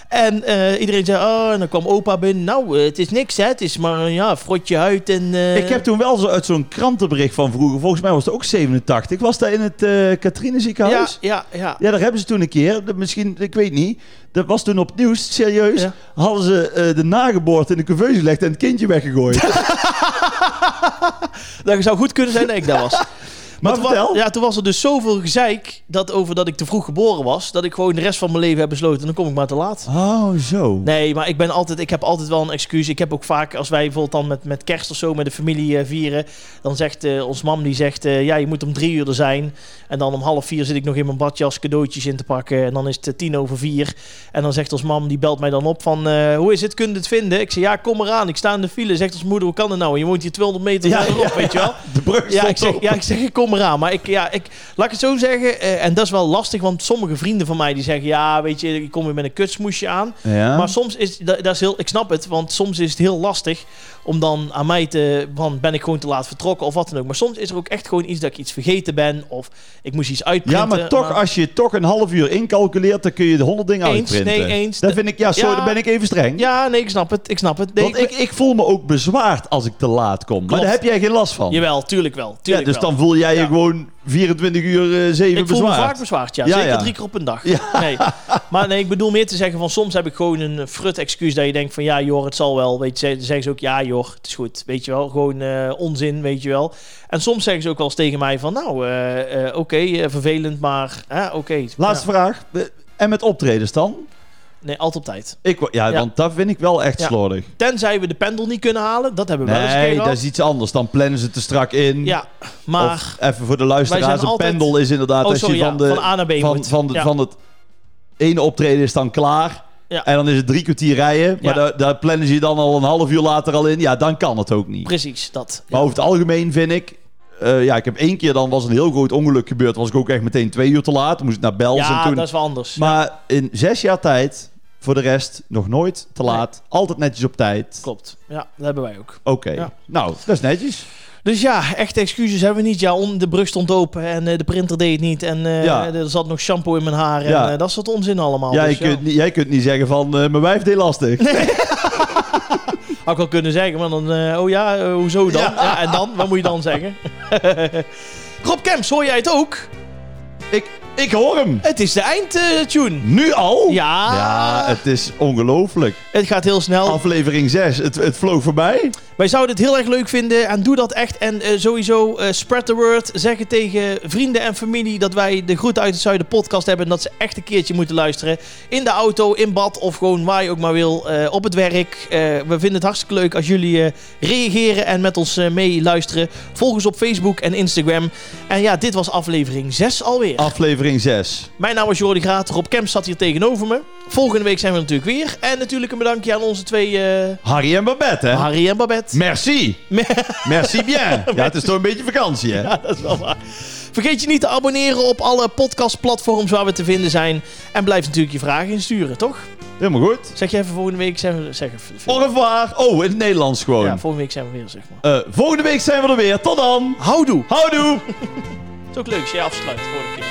En eh, iedereen zei, oh, en dan kwam opa binnen. Nou, eh, het is niks, hè. Het is maar, eh, ja, frotje huid en... eh,
Ik heb toen wel zo uit zo'n krantenbericht van vroeger, volgens mij was het ook 87, was dat in het eh Katrine
Ja,
ziekenhuis?
ja, ja.
Ja, daar hebben ze toen een keer, dat misschien, ik weet niet, dat was toen op het nieuws, serieus,
Ja.
hadden ze eh, de nageboorte in de couveuse gelegd en het kindje weggegooid.
Dat zou goed kunnen zijn dat ik daar
<laughs>
was.
maar
toen wa-
vertel.
ja, toen was er dus zoveel gezeik dat over dat ik te vroeg geboren was... dat ik gewoon de rest van mijn leven heb besloten... dan kom ik maar te laat.
Oh, zo.
Nee, maar ik, ben altijd, ik heb altijd wel een excuus. Ik heb ook vaak, als wij bijvoorbeeld dan met, met kerst of zo met de familie eh, vieren, dan zegt eh, ons mam, die zegt, eh, ja, je moet om drie uur er zijn. En dan om half vier zit ik nog in mijn badjas cadeautjes in te pakken. En dan is het eh, tien over vier. En dan zegt ons mam, die belt mij dan op van, eh, hoe is het, kun je het vinden? Ik zeg, ja, kom eraan, ik sta in de file. Zegt ons moeder, hoe kan het nou? Je woont hier 200 meter
Ja,
verderop, weet je wel?
De brug
Ja
stond
ik, zeg,
open.
ja, ik zeg, ik kom eraan. Maar ik, ja, ik, laat ik het zo zeggen, eh, en dat is wel lastig, want sommige vrienden van mij die zeggen, ja, weet je, ik kom weer met een kutsmoesje aan.
Ja.
Maar soms is dat, dat is heel, ik snap het, want soms is het heel lastig om dan aan mij te, van ben ik gewoon te laat vertrokken of wat dan ook. Maar soms is er ook echt gewoon iets dat ik iets vergeten ben of ik moest iets uitprinten.
Ja, maar toch, als je toch een half uur incalculeert, dan kun je de honderd dingen
Eens,
uitprinten.
nee, eens.
Dat vind ik, ja, sorry,
Ja.
dan ben ik even streng.
ja, nee, ik snap het, ik snap het. Nee,
Want ik, ik voel me ook bezwaard als ik te laat kom. Maar
Klopt.
daar heb jij geen last van.
Jawel, tuurlijk wel,
ja,
tuurlijk
dus
wel.
dan voel jij je
Ja.
gewoon 24 uur eh 7
Ik voel me
bezwaard.
vaak bezwaard, ja.
Ja,
Zeker
ja.
drie keer op een dag. Nee. Maar nee, ik bedoel meer te zeggen van soms heb ik gewoon een frut excuus dat je denkt van ja joh, het zal wel. Weet je, ze- zeggen ze ook ja joh, het is goed. Weet je wel, gewoon eh, onzin, weet je wel. En soms zeggen ze ook wel eens tegen mij van nou, eh, eh, oké, eh, vervelend, maar eh, oké.
Laatste
Ja.
vraag. Eh, En met optredens dan?
Nee, altijd op tijd.
Ik, wa- ja,
Ja.
want dat vind ik wel echt
Ja.
slordig.
Tenzij we de pendel niet kunnen halen, dat hebben we wel eens een keer
Nee, dat
gehad.
is iets anders. Dan plannen ze te strak in.
Ja, maar...
Of even voor de
Wij
luisteraars,
zijn
een
altijd-
pendel is inderdaad
Oh,
als
sorry,
je
ja,
van, de,
van A naar B
van,
moet.
van, de-
Ja.
van het ene optreden is dan klaar.
Ja.
En dan is het drie kwartier rijden. Maar
Ja.
daar, daar plannen ze je dan al een half uur later al in. Ja, dan kan het ook niet.
Precies, dat.
Maar over het algemeen vind ik... eh, ja, ik heb één keer, dan was een heel groot ongeluk gebeurd. Was ik ook echt meteen twee uur te laat. Toen moest ik naar Bels en
ja,
toen...
dat is wel anders.
Maar in zes jaar tijd, voor de rest, nog nooit te laat. Altijd netjes op tijd.
Klopt. Ja, dat hebben wij ook.
Oké.
Ja.
Nou, dat is netjes.
Dus ja, echte excuses hebben we niet. Ja, om, de brug stond open en eh, de printer deed het niet. En eh,
Ja.
er zat nog shampoo in mijn haar. En
Ja.
eh, dat soort onzin allemaal.
jij,
dus, ja.
kunt, niet- jij kunt niet zeggen van, eh, mijn wijf deed lastig.
Had ik wel kunnen zeggen, maar dan... eh, oh ja, eh, hoezo dan? Ja. en dan? Wat moet je dan
<laughs>
zeggen? Rob Kemps, hoor jij het ook?
Ik, ik hoor hem.
Het is de eindtune.
Nu al?
ja,
Ja,
het...
het is ongelooflijk.
gaat heel snel.
Aflevering 6, het, het vloog voorbij.
Wij zouden het heel erg leuk vinden en doe dat echt. En eh, sowieso eh, spread the word. Zeg het tegen vrienden en familie dat wij de Groet uit het Zuiden podcast hebben. En dat ze echt een keertje moeten luisteren. In de auto, in bad of gewoon waar je ook maar wil. eh, op het werk. Eh, we vinden het hartstikke leuk als jullie eh, reageren en met ons eh, meeluisteren. Volg ons op Facebook en Instagram. En ja, dit was aflevering 6 alweer.
Aflevering 6.
Mijn naam is Jordi Graat. Rob Kemp zat hier tegenover me. Volgende week zijn we natuurlijk weer. En natuurlijk een bedankje aan onze twee... eh,
Harry en Babette, hè?
Harry en Babette.
Merci. Merci
<laughs>
bien. Ja, het is toch een beetje vakantie, hè?
Ja, dat is wel waar. Vergeet je niet te abonneren op alle podcastplatforms waar we te vinden zijn. En blijf natuurlijk je vragen insturen, toch?
Helemaal goed.
Zeg je even volgende week zijn we... Zeg even,
Au revoir. Oh, in het Nederlands gewoon.
ja, volgende week zijn we weer, zeg maar.
Eh, volgende week zijn we er weer. Tot dan.
Houdoe.
Houdoe.
Het is ook leuk als je je afsluit voor de keer.